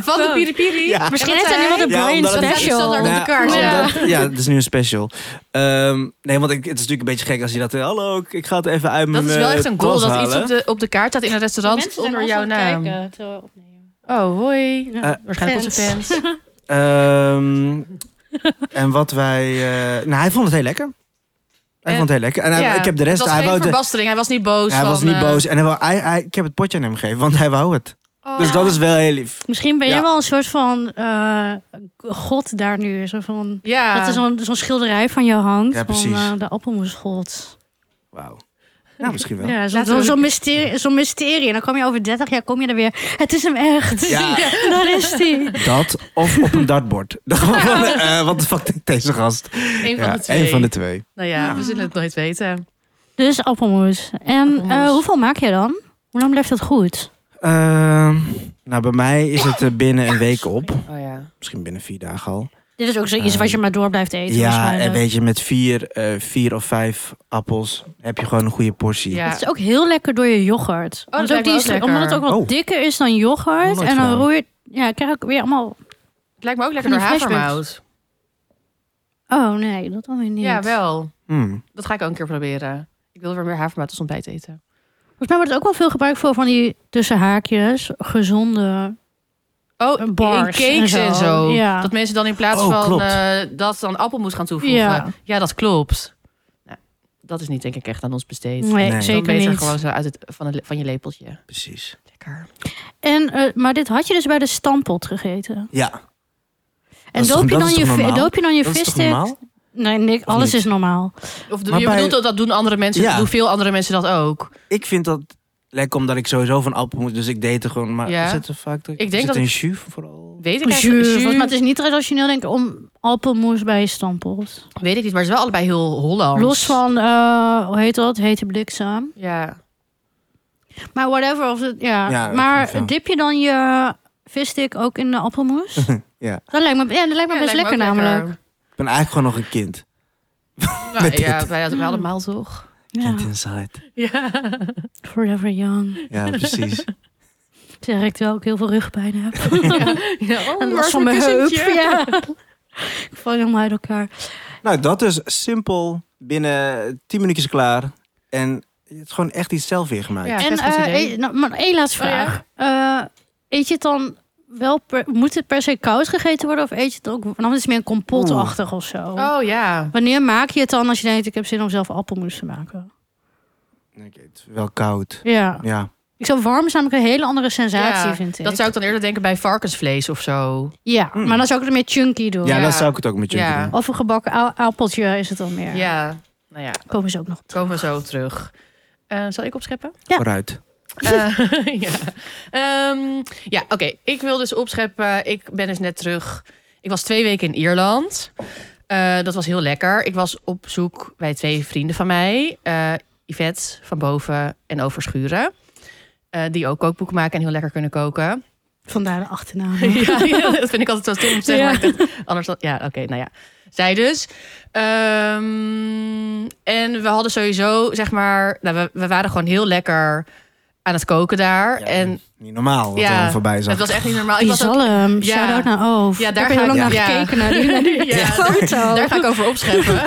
Speaker 2: Van de piripiri.
Speaker 1: Ja.
Speaker 2: En
Speaker 3: Misschien
Speaker 2: wat
Speaker 3: heeft hij
Speaker 2: zei
Speaker 3: nu wel
Speaker 2: hij?
Speaker 3: een
Speaker 1: Ja,
Speaker 3: Brian
Speaker 1: omdat het-
Speaker 3: special.
Speaker 2: Dat is de kaart,
Speaker 3: ja.
Speaker 1: omdat- ja, het is nu een special. Ehm, nee, want ik, het is natuurlijk een beetje gek als je dat... eh, Hallo, ik, ik ga het even uit
Speaker 2: Dat
Speaker 1: mijn
Speaker 2: is wel
Speaker 1: eh,
Speaker 2: echt een goal
Speaker 1: tas
Speaker 2: dat iets
Speaker 1: halen."
Speaker 2: op de, op de kaart staat in een restaurant
Speaker 3: Mensen zijn
Speaker 2: onder
Speaker 3: ons
Speaker 2: jouw
Speaker 3: aan het
Speaker 2: naam.
Speaker 3: kijken terwijl we opnemen.
Speaker 2: Oh, hoi.
Speaker 3: Ja.
Speaker 1: Eh,
Speaker 2: Waarschijnlijk onze
Speaker 3: Fans.
Speaker 2: fans.
Speaker 1: Ehm, en wat wij... eh, nou, hij vond het heel lekker. Hij
Speaker 2: En-
Speaker 1: vond het heel lekker. En hij-
Speaker 2: Ja.
Speaker 1: Nou, ik heb de rest...
Speaker 2: Het was
Speaker 1: Hij,
Speaker 2: geen
Speaker 1: wou de-
Speaker 2: verbastering. Hij was niet boos.
Speaker 1: hij
Speaker 2: van,
Speaker 1: was niet
Speaker 2: eh,
Speaker 1: boos. En hij wou, hij, hij- ik heb het potje aan hem gegeven, want hij wou het.
Speaker 2: oh.
Speaker 1: Dus dat is wel heel lief.
Speaker 3: Misschien ben je
Speaker 1: Ja.
Speaker 3: wel een soort van eh, god daar nu. Zo van,
Speaker 2: Ja.
Speaker 3: Dat er zo'n zo'n schilderij van jou hangt.
Speaker 1: Ja,
Speaker 3: Van
Speaker 1: precies.
Speaker 3: eh, de appelmoesgod.
Speaker 1: Wauw. Nou, misschien wel.
Speaker 3: Ja, zo'n
Speaker 2: Laten we-
Speaker 3: zo zo'n mysterie, zo'n mysterie. En dan kom je over 30 jaar kom je er weer. Het is hem echt.
Speaker 1: Ja.
Speaker 3: Daar is hij.
Speaker 1: Dat of op een dartbord. Dan gewoon van, eh, wat de fuck denkt deze gast?
Speaker 2: Eén van
Speaker 1: Ja,
Speaker 2: de twee.
Speaker 1: één van de twee.
Speaker 2: Nou ja, we zullen het nooit weten.
Speaker 3: Dus appelmoes. En
Speaker 2: Appelmoes.
Speaker 3: eh, hoeveel maak je dan? Hoe lang blijft dat goed?
Speaker 1: Ehm, nou, bij mij is het eh, binnen een week op.
Speaker 2: Oh ja.
Speaker 1: Misschien binnen vier dagen al.
Speaker 3: Dit is ook zoiets wat je maar door blijft eten.
Speaker 1: ja,
Speaker 2: eh,
Speaker 3: waarschijnlijk.
Speaker 1: en weet je, met vier, eh, vier of vijf appels heb je gewoon een goede portie.
Speaker 2: Ja.
Speaker 3: Het is ook heel lekker door je yoghurt. Want
Speaker 2: dat
Speaker 3: ook
Speaker 2: lijkt me
Speaker 3: die
Speaker 2: ook
Speaker 3: is-
Speaker 2: lekker.
Speaker 3: omdat het ook wat
Speaker 1: Oh.
Speaker 3: dikker is dan yoghurt.
Speaker 1: Nooit
Speaker 3: En dan
Speaker 1: gedaan.
Speaker 3: roer je... Ja, ik krijg ik weer allemaal...
Speaker 2: Het lijkt me ook lekker
Speaker 3: Van
Speaker 2: door
Speaker 3: die flashbacks.
Speaker 2: havermout.
Speaker 3: Oh nee, dat dan weer niet.
Speaker 2: Ja, wel.
Speaker 1: Hmm.
Speaker 2: Dat ga ik ook een keer proberen. Ik wil weer meer havermout als ontbijt eten.
Speaker 3: Volgens mij wordt het ook wel veel gebruikt voor van die tussen haakjes gezonde
Speaker 2: Oh,
Speaker 3: Eh, bars
Speaker 2: in cakes
Speaker 3: en zo.
Speaker 2: en zo.
Speaker 3: Ja.
Speaker 2: Dat mensen dan in plaats
Speaker 1: Oh,
Speaker 2: van
Speaker 1: klopt.
Speaker 2: eh, dat dan appelmoes gaan toevoegen.
Speaker 3: Ja.
Speaker 2: Ja, dat klopt. Nou, dat is niet denk ik echt aan ons besteed.
Speaker 3: Nee,
Speaker 1: Nee.
Speaker 2: Dan
Speaker 3: zeker
Speaker 2: beter
Speaker 3: niet.
Speaker 2: gewoon zo uit het, van, het, van je lepeltje.
Speaker 1: Precies.
Speaker 2: Lekker.
Speaker 3: En, eh, maar dit had je dus bij de stampot gegeten.
Speaker 1: Ja.
Speaker 3: En
Speaker 1: is toch-
Speaker 3: doop je,
Speaker 1: dat
Speaker 3: dan
Speaker 1: is
Speaker 3: je,
Speaker 1: toch
Speaker 3: vi-
Speaker 1: normaal?
Speaker 3: doop je dan je
Speaker 1: Dat is toch
Speaker 3: visstick?
Speaker 1: normaal?
Speaker 3: Nee, Nick, alles
Speaker 1: niet?
Speaker 3: is normaal.
Speaker 2: Of de-
Speaker 1: Maar
Speaker 2: je
Speaker 1: bij-
Speaker 2: bedoelt dat, dat doen andere mensen,
Speaker 1: Ja.
Speaker 2: doen veel andere mensen dat ook.
Speaker 1: Ik vind dat lekker omdat ik sowieso van appel moet. Dus ik deed er gewoon. Maar
Speaker 2: Ja.
Speaker 1: is het een factor?
Speaker 2: denk
Speaker 1: is het
Speaker 2: dat
Speaker 1: een
Speaker 2: ik-
Speaker 1: jus vooral?
Speaker 2: Weet ik,
Speaker 3: Jus,
Speaker 2: eigenlijk-
Speaker 3: volgens
Speaker 2: jus,
Speaker 3: mij, het is niet traditioneel denk ik om appelmoes bij je stampot.
Speaker 2: weet ik niet, maar het is wel allebei heel Hollands.
Speaker 3: Los van, eh, hoe heet dat? Hete bliksem.
Speaker 2: Ja.
Speaker 3: Maar whatever. Of het, ja.
Speaker 1: Ja,
Speaker 3: maar
Speaker 1: ik vind het wel.
Speaker 3: dip je dan je visstick ook in de appelmoes?
Speaker 1: Ja.
Speaker 3: Dat lijkt me, ja, dat lijkt me
Speaker 2: Ja,
Speaker 3: best
Speaker 2: lijkt me ook
Speaker 3: lekker namelijk.
Speaker 1: Ik ben eigenlijk gewoon nog een kind.
Speaker 2: Nou,
Speaker 1: Met
Speaker 2: ja,
Speaker 1: dit.
Speaker 2: wij hadden wij allemaal toch?
Speaker 3: Ja.
Speaker 1: Kind inside.
Speaker 2: Ja.
Speaker 3: Forever young.
Speaker 1: Ja, precies.
Speaker 3: Zeg ik terwijl ik heel veel rugpijn heb.
Speaker 2: ja. oh,
Speaker 3: en last van mijn heup. Ja. ik val helemaal uit elkaar.
Speaker 1: nou, dat is simpel. Binnen 10 minuutjes klaar. En het is gewoon echt iets zelf weer gemaakt.
Speaker 2: Ja.
Speaker 3: en
Speaker 2: best goed
Speaker 3: eh,
Speaker 2: idee.
Speaker 3: e- nou, maar één laatste
Speaker 2: Oh, ja.
Speaker 3: vraag. Eh, eet je het dan wel... Per, moet het per se koud gegeten worden? Of eet je het ook... Want Dan is het meer een kompotachtig of zo.
Speaker 2: Oh ja.
Speaker 3: Wanneer maak je het dan als je denkt... ik heb zin om zelf appelmoes te maken?
Speaker 1: Dan denk ik, het is wel koud.
Speaker 3: Ja.
Speaker 1: Ja,
Speaker 3: Ik zou warm is namelijk een hele andere sensatie,
Speaker 2: Ja,
Speaker 3: vind ik.
Speaker 2: Dat zou ik dan eerder denken bij varkensvlees of zo.
Speaker 3: Ja,
Speaker 1: Mm.
Speaker 3: maar dan zou ik het meer chunky doen.
Speaker 1: ja,
Speaker 2: Ja.
Speaker 1: dat zou ik het ook met jullie
Speaker 2: Ja.
Speaker 1: doen.
Speaker 3: Of een gebakken a- appeltje is het dan meer.
Speaker 2: Ja, nou ja,
Speaker 3: Komen ze ook nog.
Speaker 2: komen we zo terug. Eh, zal ik opscheppen?
Speaker 3: Ja.
Speaker 1: Vooruit.
Speaker 2: Eh, ja, Ehm, ja oké. Ik wil dus opscheppen. Ik ben dus net terug. Ik was twee weken in Ierland. Eh, dat was heel lekker. Ik was op zoek bij twee vrienden van mij. eh, Yvette van Boven en Overschuren. Eh, die ook kookboeken maken en heel lekker kunnen koken.
Speaker 3: Vandaar de achternaam.
Speaker 2: ja, ja, dat vind ik altijd wel stom om te zeggen.
Speaker 3: Ja.
Speaker 2: maar ik dacht, anders dan- ja, oké, nou ja. Zij dus. Ehm, en we hadden sowieso, zeg maar... Nou, we, we waren gewoon heel lekker aan het koken daar.
Speaker 1: Ja,
Speaker 2: en
Speaker 1: Niet normaal wat
Speaker 2: Ja,
Speaker 1: er allemaal voorbij zag.
Speaker 2: het was echt niet normaal. Ik
Speaker 3: Die
Speaker 2: was ook-
Speaker 3: zalm.
Speaker 2: Ja.
Speaker 3: Shout-out naar Oof.
Speaker 2: Ja, daar
Speaker 3: ik heb
Speaker 2: ga
Speaker 3: heel
Speaker 2: ik-
Speaker 3: lang
Speaker 2: ja.
Speaker 3: naar gekeken. Naar die, naar die
Speaker 2: Ja,
Speaker 3: foto.
Speaker 2: Daar ga ik over opscheppen.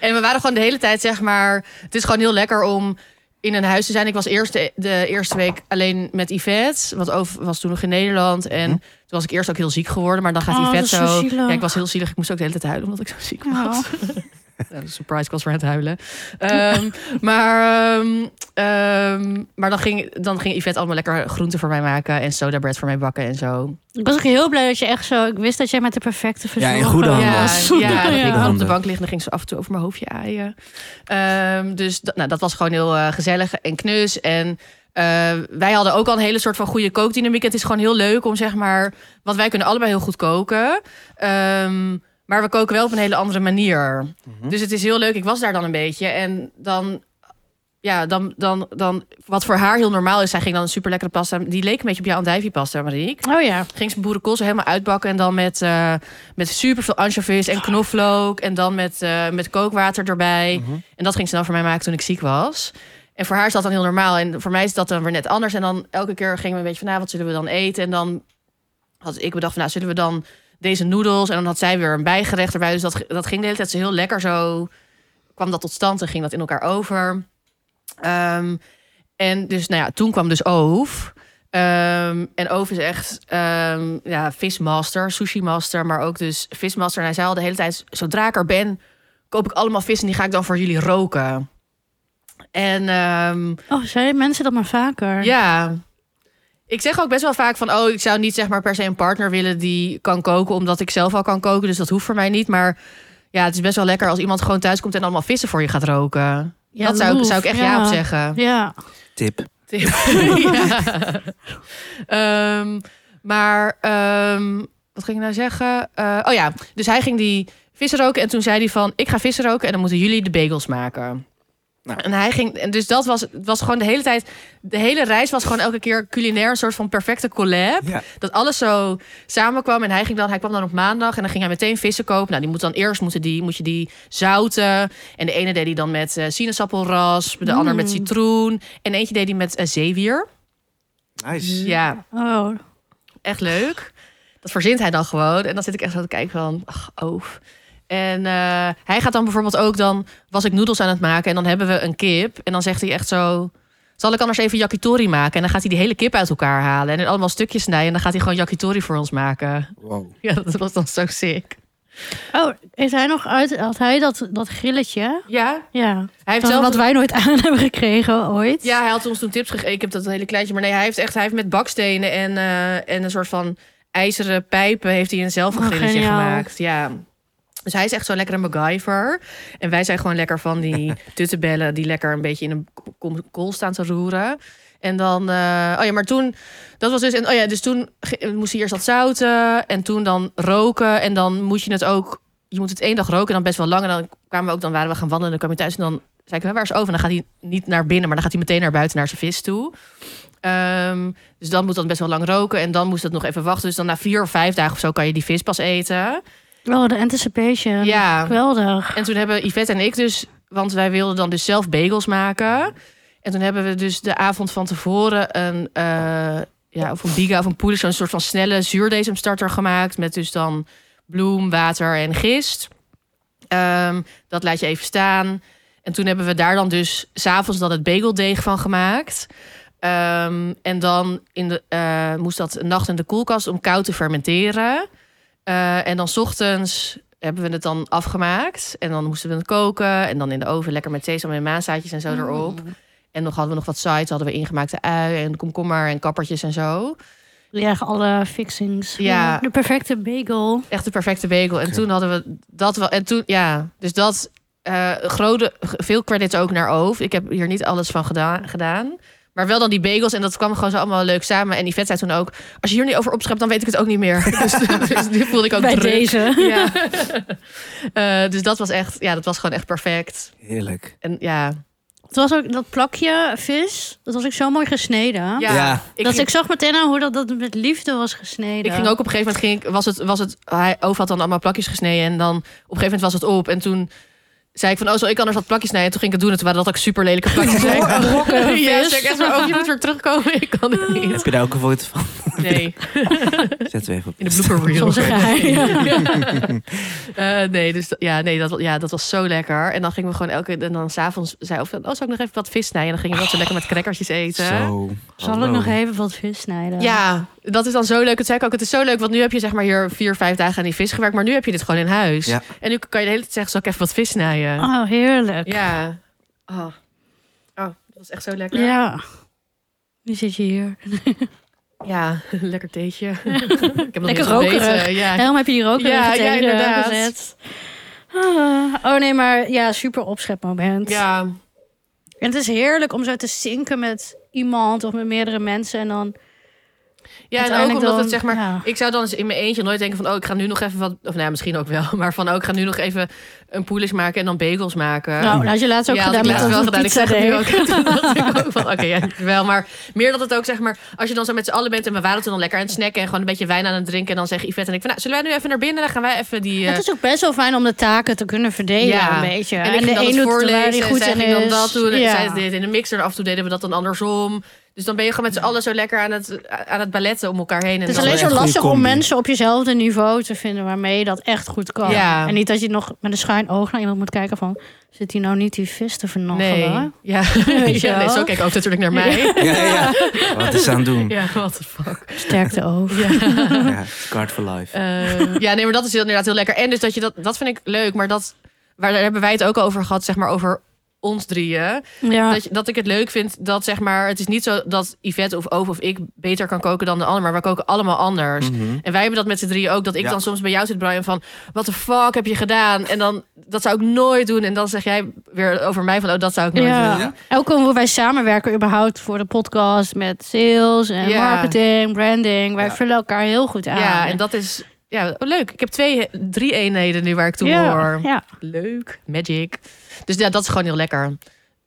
Speaker 2: en we waren gewoon de hele tijd, zeg maar... Het is gewoon heel lekker om in een huis te zijn. Ik was eerst de, de eerste week alleen met Yvette. Want over was toen nog in Nederland. En toen was ik eerst ook heel ziek geworden. Maar dan gaat
Speaker 3: Oh, dat
Speaker 2: Yvette
Speaker 3: is zo
Speaker 2: zo...
Speaker 3: zielig.
Speaker 2: ja, ik was heel zielig. Ik moest ook de hele tijd huilen omdat ik zo ziek was.
Speaker 3: Oh.
Speaker 2: Ja, de surprise, ik was weer aan het huilen. Ehm, maar ehm, ehm, maar dan, ging, dan ging Yvette allemaal lekker groenten voor mij maken. En soda bread voor mij bakken en zo.
Speaker 3: Ik was ook heel blij dat je echt zo... Ik wist dat jij met de perfecte
Speaker 1: Ja,
Speaker 3: verzorger
Speaker 1: in goede handen.
Speaker 2: Ja,
Speaker 1: was.
Speaker 2: ja, dat ik
Speaker 3: Ja.
Speaker 2: dan op de
Speaker 1: Handen.
Speaker 2: bank liggen, dan ging ze af en toe over mijn hoofdje aaien. Ehm, dus dat, nou, dat was gewoon heel eh, gezellig en knus. En eh, wij hadden ook al een hele soort van goede kookdynamiek. Het is gewoon heel leuk om zeg maar, want wij kunnen allebei heel goed koken. Ehm, maar we koken wel op een hele andere manier.
Speaker 1: Mhm.
Speaker 2: Dus het is heel leuk. Ik was daar dan een beetje. En dan, ja, dan, dan, dan, wat voor haar heel normaal is, zij ging dan een super lekkere pasta. Die leek een beetje op jouw andijvie-pasta, Marieke
Speaker 3: Oh ja.
Speaker 2: ging ze boerenkool zo helemaal uitbakken. En dan met, eh met superveel anchovies en knoflook. En dan met, eh, met kookwater erbij.
Speaker 1: Mhm.
Speaker 2: En dat ging ze dan voor mij maken toen ik ziek was. En voor haar is dat dan heel normaal. En voor mij is dat dan weer net anders. En dan elke keer gingen we een beetje van... Nou, wat zullen we dan eten? En dan had ik bedacht van... Nou, zullen we dan deze noedels? En dan had zij weer een bijgerecht erbij. Dus dat, dat ging de hele tijd zo heel lekker zo... kwam dat tot stand en ging dat in elkaar over. Ehm, en dus, nou ja, toen kwam dus Oof. Ehm, en Oof is echt ehm ja, vismaster, sushi master, maar ook dus vismaster. En hij zei al de hele tijd, zodra ik er ben, koop ik allemaal vis en die ga ik dan voor jullie roken. En ehm,
Speaker 3: Oh, zeiden mensen dat maar vaker?
Speaker 2: ja, ik zeg ook best wel vaak van, oh, ik zou niet zeg maar per se een partner willen die kan koken, omdat ik zelf al kan koken, dus dat hoeft voor mij niet. Maar ja, het is best wel lekker als iemand gewoon thuis komt en allemaal vissen voor je gaat roken.
Speaker 3: Ja,
Speaker 2: dat zou, ik-
Speaker 3: loef.
Speaker 2: zou ik echt ja op zeggen.
Speaker 3: Ja.
Speaker 1: Tip.
Speaker 2: ja. Ehm, maar ehm, wat ging ik nou zeggen? Eh, oh ja, dus hij ging die vissen roken en toen zei hij van... ik ga vissen roken en dan moeten jullie de bagels maken.
Speaker 1: Nou.
Speaker 2: En hij ging, en dus dat was, het was gewoon de hele tijd, de hele reis was gewoon elke keer culinair, een soort van perfecte collab.
Speaker 1: Ja.
Speaker 2: Dat alles zo samenkwam. En hij, ging dan, hij kwam dan op maandag en dan ging hij meteen vissen kopen. Nou, die moet dan eerst moeten die, moet je die zouten. En de ene deed hij dan met eh, sinaasappelrasp, de ander met
Speaker 3: Mm.
Speaker 2: citroen. En eentje deed hij met eh, zeewier.
Speaker 1: Nice.
Speaker 2: Ja,
Speaker 3: Oh.
Speaker 2: echt leuk. Dat verzint hij dan gewoon. En dan zit ik echt zo te kijken van, ach, oof. En eh, hij gaat dan bijvoorbeeld ook, dan was ik noedels aan het maken. En dan hebben we een kip. En dan zegt hij echt zo, zal ik anders even yakitori maken? En dan gaat hij die hele kip uit elkaar halen. En in allemaal stukjes snijden. En dan gaat hij gewoon yakitori voor ons maken.
Speaker 1: Wow.
Speaker 2: Ja, dat was dan zo sick.
Speaker 3: Oh, is hij nog uit... Had hij dat, dat grilletje?
Speaker 2: Ja,
Speaker 3: Ja.
Speaker 2: hij heeft
Speaker 3: Van
Speaker 2: zelf...
Speaker 3: Wat wij nooit aan hebben gekregen ooit.
Speaker 2: Ja, hij had ons toen tips gegeven. Ik heb dat hele kleintje. Maar nee, hij heeft echt hij heeft met bakstenen en, eh, en een soort van ijzeren pijpen... heeft hij een
Speaker 3: Oh,
Speaker 2: zelfgrilletje
Speaker 3: geniaal.
Speaker 2: gemaakt. Ja. Dus hij is echt zo'n lekkere MacGyver. En wij zijn gewoon lekker van die tuttenbellen... die lekker een beetje in een ko- ko- kool staan te roeren. En dan... eh, oh ja, maar toen... Dat was dus... En, oh ja, dus toen ge- moest hij eerst dat zouten... en toen dan roken. En dan moet je het ook... Je moet het één dag roken en dan best wel lang. En dan kwamen we ook... Dan waren we gaan wandelen en dan kwam je thuis en dan zei ik, "Hè, waar is over? En dan gaat hij niet naar binnen, maar dan gaat hij meteen naar buiten naar zijn vis toe. Ehm, dus dan moet dat best wel lang roken. En dan moest dat nog even wachten. Dus dan na vier of vijf dagen of zo kan je die vis pas eten.
Speaker 3: Oh, de anticipation.
Speaker 2: Ja.
Speaker 3: Geweldig.
Speaker 2: En toen hebben Yvette en ik dus... Want wij wilden dan dus zelf bagels maken. En toen hebben we dus de avond van tevoren een... eh, ja, of een biga of een poeder, zo'n soort van snelle zuurdesemstarter gemaakt. Met dus dan bloem, water en gist. Ehm, dat laat je even staan. En toen hebben we daar dan dus s'avonds dan het bageldeeg van gemaakt. Ehm, en dan in de, eh, moest dat een nacht in de koelkast om koud te fermenteren. Eh, en dan 's ochtends eh, hebben we het dan afgemaakt. En dan moesten we het koken. En dan in de oven lekker met sesam en maazaadjes en zo
Speaker 3: Mm.
Speaker 2: erop. En nog hadden we nog wat sides. Hadden we ingemaakte ui en komkommer en kappertjes en zo.
Speaker 3: Ja, alle fixings.
Speaker 2: Ja.
Speaker 3: De perfecte bagel.
Speaker 2: Echt de perfecte bagel. En
Speaker 1: Oké.
Speaker 2: toen hadden we dat wel. En toen, ja, dus dat. eh, grote, g- veel credits ook naar Oof. Ik heb hier niet alles van gedaan, gedaan. Maar wel dan die bagels. En dat kwam gewoon zo allemaal leuk samen. En die vet zei toen ook... Als je hier niet over opschept, dan weet ik het ook niet meer. dus, dus die voelde ik ook
Speaker 3: Bij
Speaker 2: druk.
Speaker 3: deze.
Speaker 2: Ja. Eh, dus dat was echt... Ja, dat was gewoon echt perfect.
Speaker 1: Heerlijk.
Speaker 2: En ja...
Speaker 3: Het was ook dat plakje vis. Dat was ook zo mooi gesneden.
Speaker 2: Ja.
Speaker 1: Ja.
Speaker 2: Ik
Speaker 3: dat
Speaker 2: ging,
Speaker 3: ik zag meteen aan hoe dat, dat met liefde was gesneden.
Speaker 2: ik ging ook op een gegeven moment... Ging, ik- was het, was het, hij Oof had dan allemaal plakjes gesneden. En dan op een gegeven moment was het op. En toen zei ik van... Oh, zo, ik kan er wat plakjes snijden. En toen ging ik het doen. En toen waren dat ook super lelijke plakjes. Zei ik,
Speaker 3: Rokken,
Speaker 2: Ja,
Speaker 3: vis.
Speaker 2: zeg echt maar, oh, je moet weer terugkomen. Ik kan het niet.
Speaker 1: Heb je daar ook een foto van?
Speaker 2: Nee,
Speaker 1: Zetten we even op
Speaker 2: in de blooper reel.
Speaker 3: Soms een geheim, ja.
Speaker 2: Eh, nee, dus dat- ja, nee, dat, ja, dat was zo lekker. En dan gingen we gewoon elke... En dan s'avonds zei of oh, zou ik nog even wat vis snijden? En dan gingen we dat zo lekker met crackertjes eten.
Speaker 1: Zo.
Speaker 3: Zal ik
Speaker 1: Hallo.
Speaker 3: nog even wat vis snijden?
Speaker 2: Ja, dat is dan zo leuk. Het zei ik ook, het is zo leuk, want nu heb je zeg maar hier vier, vijf dagen aan die vis gewerkt. Maar nu heb je dit gewoon in huis.
Speaker 1: Ja.
Speaker 2: En nu kan je de hele tijd zeggen, zal ik even wat vis snijden?
Speaker 3: Oh, heerlijk.
Speaker 2: Ja. Oh. oh, dat was echt zo lekker.
Speaker 3: Ja. Nu zit je hier.
Speaker 2: Ja, lekker theetje. ik heb nog
Speaker 3: Lekker
Speaker 2: niks ontbeten.
Speaker 3: rokerig.
Speaker 2: Ja,
Speaker 3: Daarom heb je hier ook
Speaker 2: Ja,
Speaker 3: weer
Speaker 2: ja,
Speaker 3: tegen
Speaker 2: inderdaad.
Speaker 3: gezet. Ah, oh nee, maar ja, super opschepmoment.
Speaker 2: ja.
Speaker 3: En het is heerlijk om zo te zinken met iemand of met meerdere mensen. En dan
Speaker 2: Ja, en ook
Speaker 3: uiteindelijk
Speaker 2: omdat
Speaker 3: dan-
Speaker 2: het zeg maar.
Speaker 3: ja.
Speaker 2: Ik zou dan eens in mijn eentje nooit denken van, oh, ik ga nu nog even wat, of nou, ja, misschien ook wel, maar van, oh, ik ga nu nog even een poelish maken en dan bagels maken.
Speaker 3: Nou, dat had je laatst ook
Speaker 2: ja, had
Speaker 3: gedaan
Speaker 2: ik
Speaker 3: met
Speaker 2: laatst wel
Speaker 3: onze
Speaker 2: gedaan. Ik zeg het nu
Speaker 3: pizzadeeg.
Speaker 2: ook. Toen dacht ik ook van, oké, ja, wel. Maar meer dat het ook, zeg maar, als je dan zo met z'n allen bent en we waren toen dan lekker aan het snacken en gewoon een beetje wijn aan het drinken en dan zeggen Yvette en ik van, nou, zullen wij nu even naar binnen? Dan gaan wij even die... eh,
Speaker 3: Het is ook best wel fijn om de taken te kunnen verdelen
Speaker 2: Ja.
Speaker 3: een beetje.
Speaker 2: en ik ging dan het voorlezen en zij ging dan dat doen. En
Speaker 3: Ja.
Speaker 2: zij deed het in de mixer en af en toe deden we dat dan andersom. Dus dan ben je gewoon met z'n allen zo lekker aan het, aan het balletten om elkaar heen. En
Speaker 3: Het is
Speaker 2: dan-
Speaker 1: wel
Speaker 3: alleen
Speaker 1: echt
Speaker 3: zo
Speaker 1: een goede
Speaker 3: lastig om
Speaker 1: combi.
Speaker 3: mensen op jezelfde niveau te vinden waarmee je dat echt goed kan.
Speaker 2: Ja.
Speaker 3: En niet dat je nog met een schuin oog naar iemand moet kijken van... zit hier nou niet die vis te
Speaker 2: Nee,
Speaker 3: vernaggelen?
Speaker 2: ja.
Speaker 3: Weet je
Speaker 2: ja nee,
Speaker 3: wel?
Speaker 2: zo kijk ik ook natuurlijk naar mij.
Speaker 1: Ja, ja. Wat is ze aan het doen?
Speaker 2: Ja, what the fuck.
Speaker 3: Sterkte oog.
Speaker 2: Ja.
Speaker 1: Ja, Card for life.
Speaker 2: Eh, ja, nee, maar dat is heel- inderdaad heel lekker. En dus dat je dat, dat vind ik leuk, maar dat, waar, daar hebben wij het ook over gehad, zeg maar over ons drieën.
Speaker 3: Ja.
Speaker 2: Dat, je- dat ik het leuk vind dat, zeg maar, het is niet zo dat Yvette of Ove of ik beter kan koken dan de ander, maar we koken allemaal anders.
Speaker 1: Mhm.
Speaker 2: En wij hebben dat met z'n drieën ook. Dat ik
Speaker 1: Ja.
Speaker 2: dan soms bij jou zit, Brian, van... wat de fuck heb je gedaan? En dan, dat zou ik nooit doen. En dan zeg jij weer over mij van... oh, dat zou ik nooit doen.
Speaker 3: Ja. En ook hoe wij samenwerken überhaupt voor de podcast met sales en
Speaker 2: Ja.
Speaker 3: marketing, branding. Wij
Speaker 1: Ja.
Speaker 3: vullen elkaar heel goed aan.
Speaker 2: Ja, en dat is... Ja, oh, leuk. Ik heb twee, drie eenheden nu waar ik toe
Speaker 3: ja.
Speaker 2: hoor.
Speaker 3: Ja.
Speaker 2: Leuk. Magic. Dus ja, dat is gewoon heel lekker.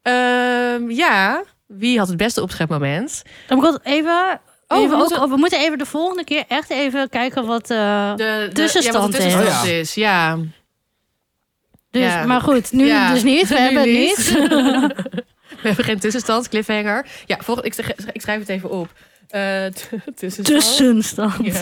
Speaker 2: Ehm, ja, wie had het beste opschepmoment?
Speaker 3: Dan moet ik altijd even...
Speaker 2: Oh,
Speaker 3: even
Speaker 2: we
Speaker 3: ook-
Speaker 2: moeten-
Speaker 3: we moeten even de volgende keer echt even kijken wat... eh,
Speaker 2: De, de
Speaker 3: Tussenstand
Speaker 2: ja, wat de
Speaker 3: is.
Speaker 2: tussenstand
Speaker 1: Oh, ja.
Speaker 2: is. Ja.
Speaker 3: dus,
Speaker 2: Ja.
Speaker 3: Maar goed, nu
Speaker 2: Ja.
Speaker 3: dus niet. We
Speaker 2: Nu
Speaker 3: hebben het niet.
Speaker 2: We hebben geen tussenstand, cliffhanger. Ja, volg, ik, zeg- ik schrijf het even op. Eh, t- tussenstand.
Speaker 3: Tussenstand.
Speaker 2: Ja.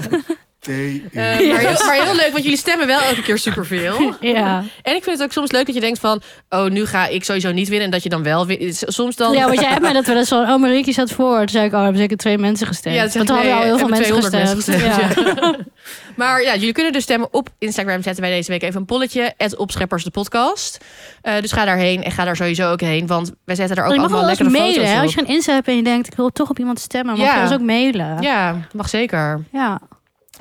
Speaker 2: Eh,
Speaker 1: Ja.
Speaker 2: maar, heel, maar heel leuk, want jullie stemmen wel elke keer superveel.
Speaker 3: Ja.
Speaker 2: En ik vind het ook soms leuk dat je denkt van... oh, nu ga ik sowieso niet winnen en dat je dan wel win- Soms dan...
Speaker 3: Ja, want jij hebt mij dat wel eens van, oh Marieke zat voor. Toen zei ik, oh, hebben zeker twee mensen gestemd.
Speaker 2: Ja,
Speaker 3: Ja,
Speaker 2: dat
Speaker 3: dat
Speaker 2: zeg ik,
Speaker 3: want toen hadden we al
Speaker 2: nee,
Speaker 3: heel veel mensen
Speaker 2: hebben
Speaker 3: gestemd.
Speaker 2: 200 mensen
Speaker 3: ja.
Speaker 2: gestemd, ja. maar ja, jullie kunnen dus stemmen op Instagram. Zetten wij deze week even een polletje. Het opscheppers de podcast. Eh, dus ga daarheen en ga daar sowieso ook heen. Want wij zetten daar ook
Speaker 3: je mag
Speaker 2: allemaal
Speaker 3: wel eens
Speaker 2: lekkere
Speaker 3: mailen,
Speaker 2: foto's
Speaker 3: hè.
Speaker 2: op.
Speaker 3: Als je geen Insta hebt en je denkt, ik wil toch op iemand stemmen, mag
Speaker 2: Ja.
Speaker 3: je ons ook mailen. Ja.
Speaker 2: Ja, mag zeker.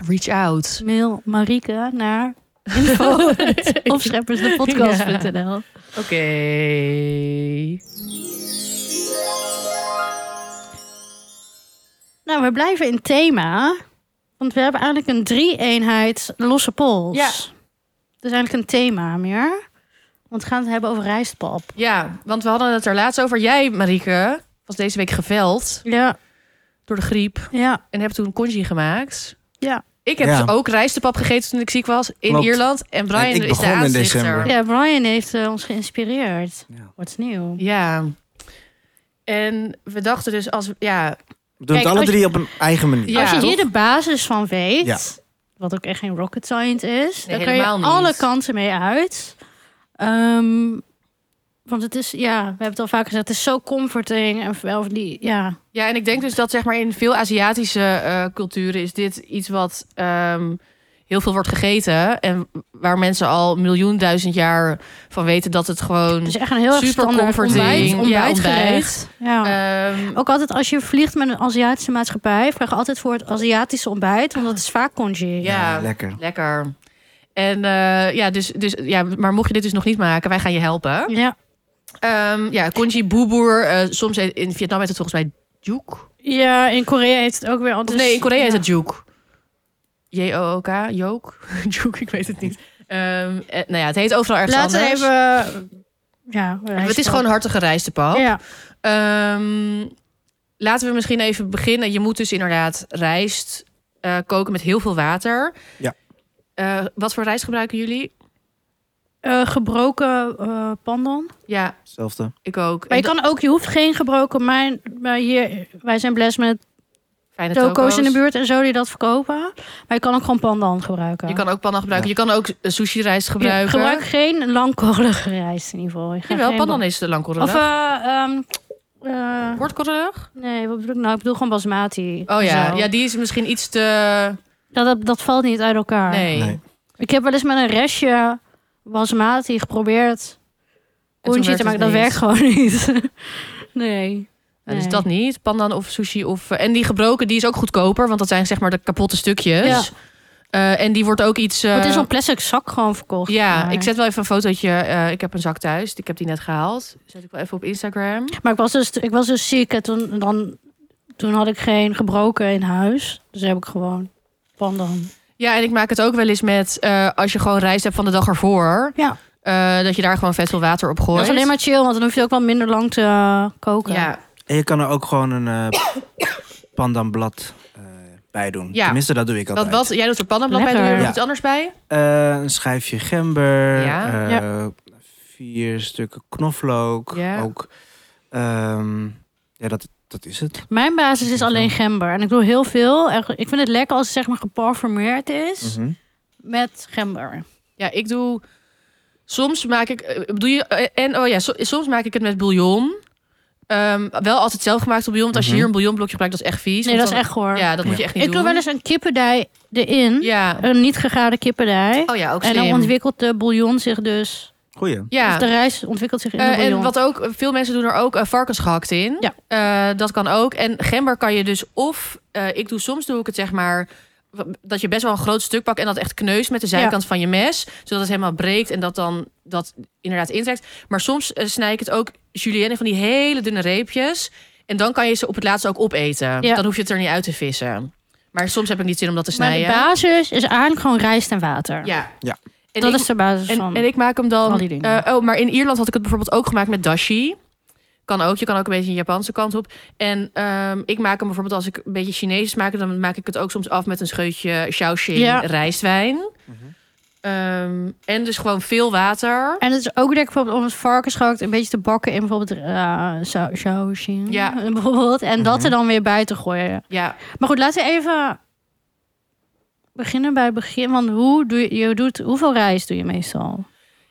Speaker 2: Reach out.
Speaker 3: Mail Marieke naar info opscheppersdepodcast.nl.
Speaker 2: Oké.
Speaker 3: Nou, we blijven in thema. Want we hebben eigenlijk een drie-eenheid losse pols.
Speaker 2: Ja.
Speaker 3: Dat is eigenlijk een thema meer. Want we gaan het hebben over rijstpap.
Speaker 2: Ja, want we hadden het er laatst over. Jij, Marieke, was deze week geveld
Speaker 3: Ja,
Speaker 2: door de griep.
Speaker 3: ja,
Speaker 2: En heb toen congee gemaakt.
Speaker 3: ja.
Speaker 2: Ik heb
Speaker 1: Ja.
Speaker 2: dus ook rijstepap gegeten toen ik ziek was in
Speaker 1: Klopt.
Speaker 2: Ierland. En Brian
Speaker 1: En ik
Speaker 2: is de
Speaker 1: begon in
Speaker 2: aanstichter.
Speaker 1: december.
Speaker 3: Ja, Brian heeft eh, ons geïnspireerd.
Speaker 1: Ja.
Speaker 3: Wordt nieuw.
Speaker 2: Ja. En we dachten dus als... Ja,
Speaker 1: We doen het
Speaker 3: Kijk,
Speaker 1: alle
Speaker 3: als je-
Speaker 1: drie op een eigen manier.
Speaker 2: Ja.
Speaker 3: Als je
Speaker 2: toch?
Speaker 3: hier de basis van weet,
Speaker 1: Ah, Ja.
Speaker 3: wat ook echt geen rocket science is,
Speaker 2: Nee,
Speaker 3: dan kan je
Speaker 2: helemaal niet.
Speaker 3: alle kanten mee uit. Ehm, want het is, ja, we hebben het al vaak gezegd, het is zo comforting en wel van die, ja,
Speaker 2: ja, en ik denk dus dat zeg maar in veel Aziatische eh, culturen is dit iets wat... ehm, heel veel wordt gegeten. En waar mensen al miljoen duizend jaar van weten dat het gewoon.
Speaker 3: Het is echt een heel erg
Speaker 2: Super
Speaker 3: standaard
Speaker 2: comforting.
Speaker 3: ontbijt,
Speaker 2: Ja,
Speaker 3: ontbijtgerecht. Ja.
Speaker 2: ehm,
Speaker 3: Ook altijd als je vliegt met een Aziatische maatschappij, vraag altijd voor het Aziatische ontbijt, want dat is vaak congee.
Speaker 2: Ja.
Speaker 1: lekker.
Speaker 2: lekker. En eh, ja, dus, dus, ja, maar mocht je dit dus nog niet maken, wij gaan je helpen.
Speaker 3: Ja.
Speaker 2: Ehm, ja, congee boeboer. eh, soms heet- in Vietnam heet het volgens mij joek.
Speaker 3: ja, in Korea heet het ook weer
Speaker 2: Of
Speaker 3: anders.
Speaker 2: nee, in Korea heet
Speaker 3: Dus Ja.
Speaker 2: het joek. J-O-O-K, jook. joek, ik weet het niet. Ehm, eh, nou ja, het heet overal ergens
Speaker 3: Laten we
Speaker 2: anders.
Speaker 3: even. Ja,
Speaker 2: het is gewoon hartige rijstepap.
Speaker 3: Ja.
Speaker 2: Ehm, laten we misschien even beginnen. Je moet dus inderdaad rijst eh, koken met heel veel water.
Speaker 1: Ja.
Speaker 2: Eh, wat voor rijst gebruiken jullie?
Speaker 3: Eh, gebroken eh, pandan.
Speaker 2: Ja,
Speaker 1: Hetzelfde.
Speaker 2: ik ook.
Speaker 3: Maar je
Speaker 2: En
Speaker 3: kan ook, je hoeft geen gebroken. Mijn, maar hier, wij zijn blessed met
Speaker 2: dat- fijne
Speaker 3: toko's in de buurt en zo die dat verkopen. Maar je kan ook gewoon pandan gebruiken.
Speaker 2: Je kan ook pandan gebruiken.
Speaker 1: Ja.
Speaker 2: Je kan ook sushi rijst
Speaker 3: Je
Speaker 2: gebruiken.
Speaker 3: Gebruik geen langkorrelige rijst in ieder geval. Je gaat
Speaker 2: Jawel,
Speaker 3: geen
Speaker 2: pandan is de langkorrelig.
Speaker 3: Of eh, ehm, eh,
Speaker 2: Kortkorrelig?
Speaker 3: nee, wat bedoel ik nou? Ik bedoel gewoon basmati.
Speaker 2: Oh ja.
Speaker 3: Zo.
Speaker 2: ja, die is misschien iets te...
Speaker 3: dat, dat, dat valt niet uit elkaar.
Speaker 2: Nee.
Speaker 1: Nee.
Speaker 3: Ik heb wel eens met een restje basmati geprobeerd
Speaker 2: toen
Speaker 3: congee
Speaker 2: werkt
Speaker 3: te
Speaker 2: het
Speaker 3: maken. Dat
Speaker 2: niet.
Speaker 3: werkt gewoon niet. nee.
Speaker 2: Ja, dus
Speaker 3: Nee.
Speaker 2: dat niet. Pandan of sushi of... eh, En die gebroken, die is ook goedkoper. Want dat zijn zeg maar de kapotte stukjes.
Speaker 3: Ja.
Speaker 2: Eh, en die wordt ook iets... eh,
Speaker 3: Maar het is zo'n plastic zak gewoon verkocht.
Speaker 2: Ja,
Speaker 3: maar.
Speaker 2: ik zet wel even een fotootje. eh, ik heb een zak thuis. Ik heb die net gehaald. Zet ik wel even op Instagram.
Speaker 3: Maar ik was dus, ik was dus ziek en toen, dan, toen had ik geen gebroken in huis. Dus heb ik gewoon pandan.
Speaker 2: Ja, en ik maak het ook wel eens met... eh, als je gewoon rijst hebt van de dag ervoor...
Speaker 3: Ja.
Speaker 2: eh, dat je daar gewoon vet veel water op gooit.
Speaker 3: Dat is alleen maar chill, want dan hoef je ook wel minder lang te eh, koken.
Speaker 2: Ja,
Speaker 1: En je kan er ook gewoon een eh pandanblad eh, bij doen.
Speaker 2: Ja.
Speaker 1: Tenminste, dat doe ik
Speaker 2: wat,
Speaker 1: altijd.
Speaker 2: wat, jij doet er pannenblad bij. Doe je er
Speaker 3: Lekker.
Speaker 2: nog
Speaker 1: Ja.
Speaker 2: iets anders bij?
Speaker 1: Eh, een schijfje gember.
Speaker 2: Ja.
Speaker 1: eh,
Speaker 3: Ja.
Speaker 1: Vier stukken knoflook.
Speaker 2: Ja.
Speaker 1: Ook, ehm, ja, dat, dat is het.
Speaker 3: Mijn basis is alleen gember. En ik doe heel veel. En Ik vind het lekker als het zeg maar geparfumeerd is
Speaker 1: Mhm.
Speaker 3: met gember.
Speaker 2: Ja, ik doe. Soms maak ik. eh, Doe je, eh, en oh ja, so- soms maak ik het met bouillon. Ehm, wel altijd zelf gemaakt bouillon. Want als je
Speaker 1: Mhm.
Speaker 2: hier een bouillonblokje gebruikt, dat is echt vies.
Speaker 3: Nee,
Speaker 2: want
Speaker 3: dat is
Speaker 2: dan-
Speaker 3: echt hoor.
Speaker 2: Ja, dat moet je
Speaker 1: Ja.
Speaker 2: echt niet
Speaker 3: ik doe
Speaker 2: doen.
Speaker 3: wel eens een kippendij erin.
Speaker 2: Ja.
Speaker 3: Een niet gegade kippendij.
Speaker 2: Oh ja, ook
Speaker 3: en
Speaker 2: slim.
Speaker 3: dan ontwikkelt de bouillon zich dus.
Speaker 1: Goeie.
Speaker 3: Of
Speaker 2: Ja.
Speaker 3: de rijst ontwikkelt zich in de
Speaker 2: Eh,
Speaker 3: bouillon.
Speaker 2: en wat ook, eh, veel mensen doen er ook eh, varkens gehakt in.
Speaker 3: Ja.
Speaker 2: Eh, dat kan ook. En gember kan je dus of, eh, ik doe soms doe ik het zeg maar, w- dat je best wel een groot stuk pakt en dat echt kneust met de zijkant van je mes. Zodat het helemaal breekt en dat dan dat inderdaad intrekt. Maar soms eh, snij ik het ook julienne van die hele dunne reepjes. En dan kan je ze op het laatst ook opeten.
Speaker 3: Ja.
Speaker 2: Dan hoef je het er niet uit te vissen. Maar soms heb ik niet zin om dat te
Speaker 3: maar de
Speaker 2: snijden.
Speaker 3: basis is eigenlijk gewoon rijst en water.
Speaker 2: ja.
Speaker 1: Ja.
Speaker 2: En
Speaker 3: dat
Speaker 2: ik-
Speaker 3: is de basis
Speaker 2: en,
Speaker 3: van.
Speaker 2: en ik maak hem
Speaker 3: van
Speaker 2: dan.
Speaker 3: die dingen.
Speaker 2: eh, oh, maar in Ierland had ik het bijvoorbeeld ook gemaakt met dashi. Kan ook. Je kan ook een beetje een Japanse kant op. En ehm, ik maak hem bijvoorbeeld als ik een beetje Chinees maak, dan maak ik het ook soms af met een scheutje Shaoxing
Speaker 3: Ja.
Speaker 2: rijstwijn.
Speaker 1: Mhm.
Speaker 2: Ehm, en dus gewoon veel water.
Speaker 3: En het is ook lekker bijvoorbeeld om het varkensgehakt een beetje te bakken in bijvoorbeeld eh sau- sausje.
Speaker 2: Ja.
Speaker 3: Bijvoorbeeld. En dat er dan weer bij te gooien.
Speaker 2: Ja,
Speaker 3: Maar goed, laten we even beginnen bij het begin. Want hoe doe je, je doet, hoeveel rijst doe je meestal?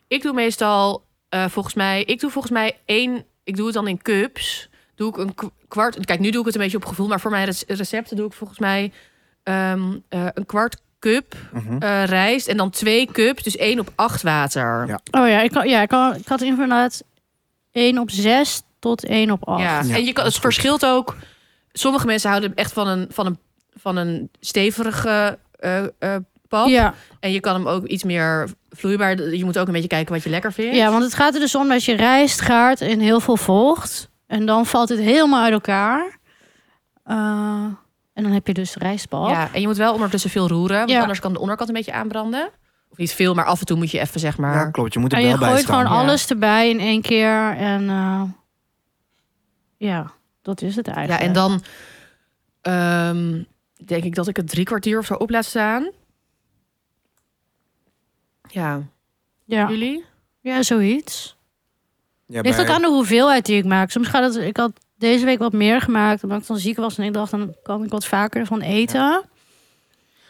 Speaker 2: ik doe meestal eh, volgens mij. Ik doe volgens mij één. Ik doe het dan in cups. Doe ik een k- kwart. Kijk, nu doe ik het een beetje op gevoel, maar voor mijn rec- recepten doe ik volgens mij ehm, eh, een kwart cup
Speaker 1: Mhm.
Speaker 2: eh, rijst en dan twee cups, dus één op acht water.
Speaker 1: Ja.
Speaker 3: Oh ja, ik, kan, ja, ik, kan, ik had inderdaad 1 op 6 tot 1 op 8.
Speaker 2: Ja,
Speaker 1: Ja,
Speaker 2: en je kan,
Speaker 1: dat is
Speaker 2: het
Speaker 1: goed.
Speaker 2: verschilt ook. Sommige mensen houden echt van een, van een, van een stevige eh, eh, pap.
Speaker 3: Ja,
Speaker 2: En je kan hem ook iets meer vloeibaar. Je moet ook een beetje kijken wat je lekker vindt.
Speaker 3: ja, want het gaat er dus om dat je rijst gaart in heel veel vocht. En dan valt het helemaal uit elkaar. Eh, en dan heb je dus rijstbal.
Speaker 2: Ja, en je moet wel ondertussen veel roeren. Want
Speaker 3: Ja.
Speaker 2: anders kan de onderkant een beetje aanbranden. Of niet veel, maar af en toe moet je even zeg maar.
Speaker 1: Ja, klopt. Je moet er
Speaker 3: En je
Speaker 1: wel bij
Speaker 3: gooit
Speaker 1: staan.
Speaker 3: gewoon
Speaker 2: Ja.
Speaker 3: alles erbij in één keer. En eh, ja, dat is het
Speaker 2: Ja,
Speaker 3: eigenlijk.
Speaker 2: en dan ehm, denk ik dat ik het drie kwartier of zo op laat staan. Ja,
Speaker 3: Ja,
Speaker 2: jullie?
Speaker 3: ja zoiets.
Speaker 1: Ja,
Speaker 3: Ligt
Speaker 1: bij-
Speaker 3: ook aan de hoeveelheid die ik maak. Soms gaat het... Ik had deze week wat meer gemaakt, omdat ik dan ziek was. En ik dacht, dan kan ik wat vaker ervan eten. Ja,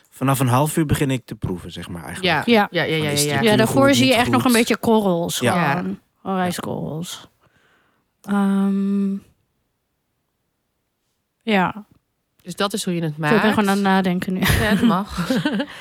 Speaker 1: Vanaf een half uur begin ik te proeven, zeg maar eigenlijk.
Speaker 2: Ja, ja,
Speaker 3: Ja.
Speaker 2: ja, ja. ja,
Speaker 1: Is
Speaker 2: ja.
Speaker 1: dit- Natuurlijk
Speaker 3: daarvoor
Speaker 1: goed,
Speaker 3: zie je
Speaker 1: niet
Speaker 3: echt nog
Speaker 1: goed.
Speaker 3: een beetje korrels.
Speaker 1: Ja.
Speaker 3: Ja. Gewoon. Gewoon rijstkorrels. Ehm, ja.
Speaker 2: Dus dat is hoe je het
Speaker 3: Ik ben
Speaker 2: maakt.
Speaker 3: gewoon aan het nadenken nu.
Speaker 2: Ja, dat mag.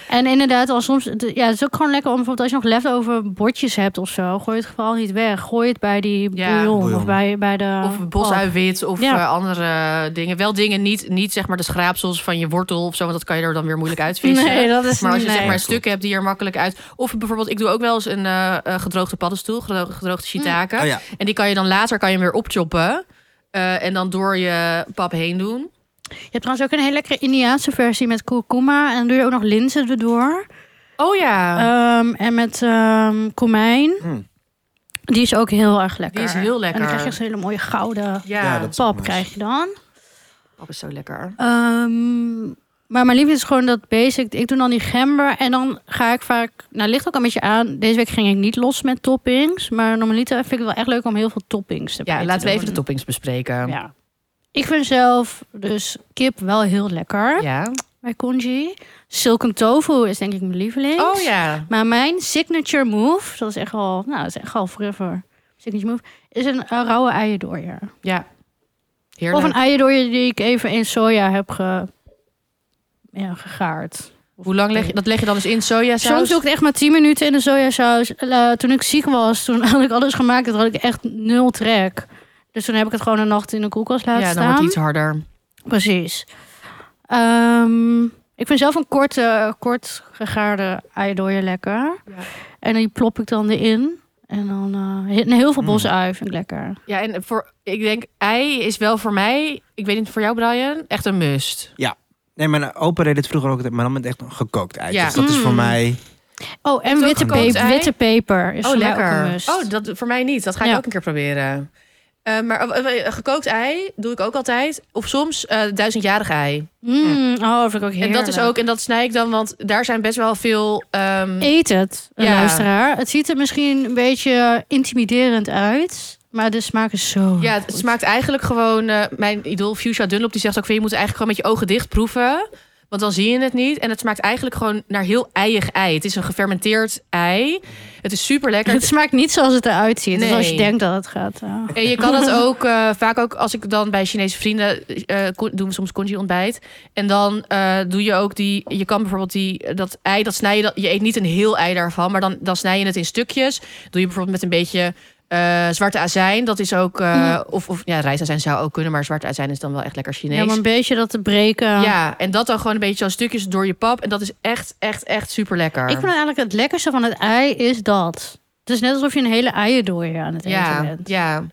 Speaker 3: En inderdaad, als soms, de- ja, het is ook gewoon lekker om bijvoorbeeld als je nog leftover bordjes hebt of zo, gooi het vooral niet weg. Gooi het bij die
Speaker 2: Ja.
Speaker 3: bouillon,
Speaker 1: Bouillon.
Speaker 3: of bij, bij de.
Speaker 2: Of bosuiwit of
Speaker 3: eh, Ja.
Speaker 2: eh, andere dingen. Wel dingen, niet, niet zeg maar de schraapsels van je wortel of zo, want dat kan je er dan weer moeilijk uitvissen.
Speaker 3: Nee, dat is
Speaker 2: Maar als je
Speaker 3: nee.
Speaker 2: zeg maar stukken hebt die er makkelijk uit. Of bijvoorbeeld, ik doe ook wel eens een eh, eh, gedroogde paddenstoel, gedro-
Speaker 3: Mm.
Speaker 2: gedroogde shiitake.
Speaker 1: Oh ja,
Speaker 2: En die kan je dan later kan je hem weer opchoppen. eh, en dan door je pap heen doen.
Speaker 3: Je hebt trouwens ook een hele lekkere Indiaanse versie met kurkuma en dan doe je ook nog linzen erdoor.
Speaker 2: Oh ja,
Speaker 3: Ehm, en met ehm, komijn.
Speaker 1: Mm.
Speaker 3: Die is ook heel erg lekker.
Speaker 2: die is heel lekker.
Speaker 3: En dan krijg je echt zo'n hele mooie gouden
Speaker 2: ja,
Speaker 1: ja, dat is ook
Speaker 3: pap
Speaker 1: nice.
Speaker 3: krijg je dan.
Speaker 2: pap is zo lekker.
Speaker 3: Ehm, maar mijn liefde is gewoon dat basic. Ik doe dan die gember en dan ga ik vaak... Nou, ligt ook een beetje aan. Deze week ging ik niet los met toppings. Maar normaliter vind ik het wel echt leuk om heel veel toppings te
Speaker 2: Ja, laten we even de toppings bespreken.
Speaker 3: Ja. Ik vind zelf dus kip wel heel lekker
Speaker 2: Ja.
Speaker 3: bij congee. Silken tofu is denk ik mijn lieveling.
Speaker 2: Oh ja.
Speaker 3: Maar mijn signature move, dat is echt al... Nou, dat is echt al forever. Signature move is een eh, rauwe eierdooier.
Speaker 2: Ja. Heerlijk.
Speaker 3: Of een eierdooier die ik even in soja heb ge... ja, gegaard.
Speaker 2: Hoe lang leg je dat leg je dan eens in sojasaus?
Speaker 3: Soms doe ik het echt maar 10 minuten in de sojasaus. Eh, toen ik ziek was, toen had ik alles gemaakt. Dat had ik echt nul trek. Dus toen heb ik het gewoon een nacht in de koelkast laten
Speaker 2: Ja, dan wordt
Speaker 3: staan.
Speaker 2: het iets harder.
Speaker 3: Precies. Ehm, ik vind zelf een korte, kort gegaarde eidooier lekker.
Speaker 2: Ja.
Speaker 3: En die plop ik dan erin. En dan eh, he- heel veel
Speaker 1: Mm.
Speaker 3: bosui vind ik lekker.
Speaker 2: Ja, en voor, ik denk, ei is wel voor mij, ik weet niet voor jou Brian, echt een must.
Speaker 1: Nee, mijn opa deed het vroeger ook, maar dan met echt een gekookt ei.
Speaker 2: Ja.
Speaker 1: Dus dat is voor
Speaker 3: Mm.
Speaker 1: mij...
Speaker 3: Oh, en
Speaker 2: ook
Speaker 3: witte,
Speaker 2: gekookt
Speaker 3: pe-
Speaker 2: ei?
Speaker 3: witte peper is voor mij ook een must.
Speaker 2: Oh, dat voor mij niet. Dat ga ik
Speaker 3: Ja.
Speaker 2: ook een keer proberen. Eh, maar eh, eh, gekookt ei doe ik ook altijd. Of soms eh, duizendjarig ei.
Speaker 3: Mm, oh, dat vind ik ook heerlijk.
Speaker 2: Hm. En dat is ook, en dat snij ik dan, want daar zijn best wel veel. ehm,
Speaker 3: Eet het, een
Speaker 2: Ja.
Speaker 3: luisteraar. Het ziet er misschien een beetje intimiderend uit. Maar de smaak is zo
Speaker 2: ja, het
Speaker 3: Oh, goed.
Speaker 2: smaakt eigenlijk gewoon. eh, mijn idool Fuchsia Dunlop die zegt ook: van, je moet eigenlijk gewoon met je ogen dicht proeven. Want dan zie je het niet. En het smaakt eigenlijk gewoon naar heel eiig ei. Het is een gefermenteerd ei. Het is super lekker.
Speaker 3: Het smaakt niet zoals het eruit ziet.
Speaker 2: Nee.
Speaker 3: Zoals je denkt dat het gaat. eh, Ja.
Speaker 2: En je kan het ook eh, vaak ook als ik dan bij Chinese vrienden eh, ko- doen we soms congee ontbijt en dan eh, doe je ook die je kan bijvoorbeeld die eh, dat ei dat snij je dat je eet niet een heel ei daarvan maar dan dan snij je het in stukjes doe je bijvoorbeeld met een beetje eh, zwarte azijn dat is ook eh,
Speaker 3: Mhm.
Speaker 2: of of ja rijstazijn zou ook kunnen maar zwarte azijn is dan wel echt lekker Chinees
Speaker 3: Ja, maar een beetje dat te breken.
Speaker 2: ja en dat dan gewoon een beetje zo stukjes door je pap en dat is echt echt echt super lekker
Speaker 3: Ik vind eigenlijk het lekkerste van het ei is dat. Het is net alsof je een hele eierdooier aan het eten
Speaker 2: ja
Speaker 3: bent.
Speaker 2: ja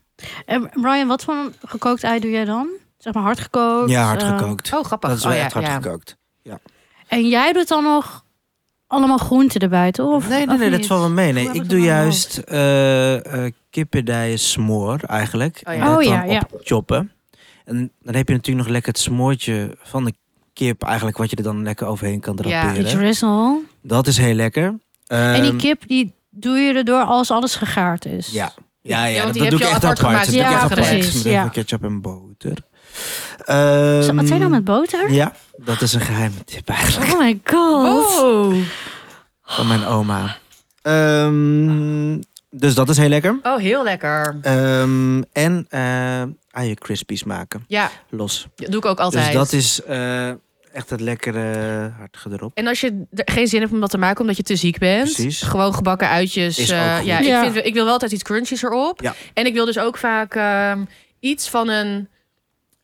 Speaker 3: En Brian, wat voor een gekookt ei doe jij dan? Zeg maar hard gekookt?
Speaker 1: Ja, hard
Speaker 3: eh,
Speaker 1: gekookt.
Speaker 2: oh grappig
Speaker 1: dat is wel
Speaker 2: oh, ja,
Speaker 1: echt hard
Speaker 2: ja.
Speaker 1: gekookt.
Speaker 3: en jij doet dan nog allemaal groenten erbij, toch? Of-
Speaker 1: nee, nee,
Speaker 3: of
Speaker 1: nee, dat
Speaker 3: niet?
Speaker 1: valt wel mee.
Speaker 3: Hoe
Speaker 1: Nee,
Speaker 3: heb
Speaker 1: ik
Speaker 3: ik
Speaker 1: doe
Speaker 3: het nou in mijn
Speaker 1: juist eh eh kippendijen smoor eigenlijk.
Speaker 2: Oh ja.
Speaker 1: En dat
Speaker 3: Oh
Speaker 1: dan
Speaker 3: ja, ja.
Speaker 1: opchoppen. En dan heb je natuurlijk nog lekker het smoortje van de kip eigenlijk... wat je er dan lekker overheen kan
Speaker 2: Ja.
Speaker 3: Die
Speaker 1: draperen.
Speaker 3: drizzle.
Speaker 1: dat is heel lekker.
Speaker 3: en die
Speaker 1: Ehm,
Speaker 3: kip, die doe je erdoor als alles gegaard is.
Speaker 1: Ja, ja, ja,
Speaker 2: Ja, want
Speaker 1: dat,
Speaker 2: die
Speaker 1: dat
Speaker 2: heb
Speaker 1: doe
Speaker 2: je
Speaker 1: ik
Speaker 2: al
Speaker 1: echt apart.
Speaker 2: apart gemaakt.
Speaker 1: Dat doe ik
Speaker 3: Ja,
Speaker 1: echt apart.
Speaker 3: precies,
Speaker 1: Met
Speaker 3: ja.
Speaker 1: ketchup en boter.
Speaker 3: Zo,
Speaker 1: Ehm,
Speaker 3: Wat zijn dan met boter?
Speaker 1: Ja, dat is een geheime tip eigenlijk
Speaker 3: Oh my god.
Speaker 2: Oh.
Speaker 1: van mijn oma. Ehm, dus dat is heel lekker.
Speaker 2: oh, heel lekker.
Speaker 1: Ehm, en eh eieren crispies maken,
Speaker 2: Ja,
Speaker 1: los.
Speaker 2: dat doe ik ook altijd.
Speaker 1: Dus dat is eh, echt het lekkere hartgedrop.
Speaker 2: En als je er geen zin hebt om dat te maken omdat je te ziek bent,
Speaker 1: Precies.
Speaker 2: gewoon gebakken uitjes.
Speaker 1: Is
Speaker 2: eh,
Speaker 1: ook goed.
Speaker 2: ja, ik,
Speaker 3: Ja.
Speaker 2: vind, ik wil wel altijd iets crunchies erop.
Speaker 1: Ja.
Speaker 2: En ik wil dus ook vaak ehm, iets van een.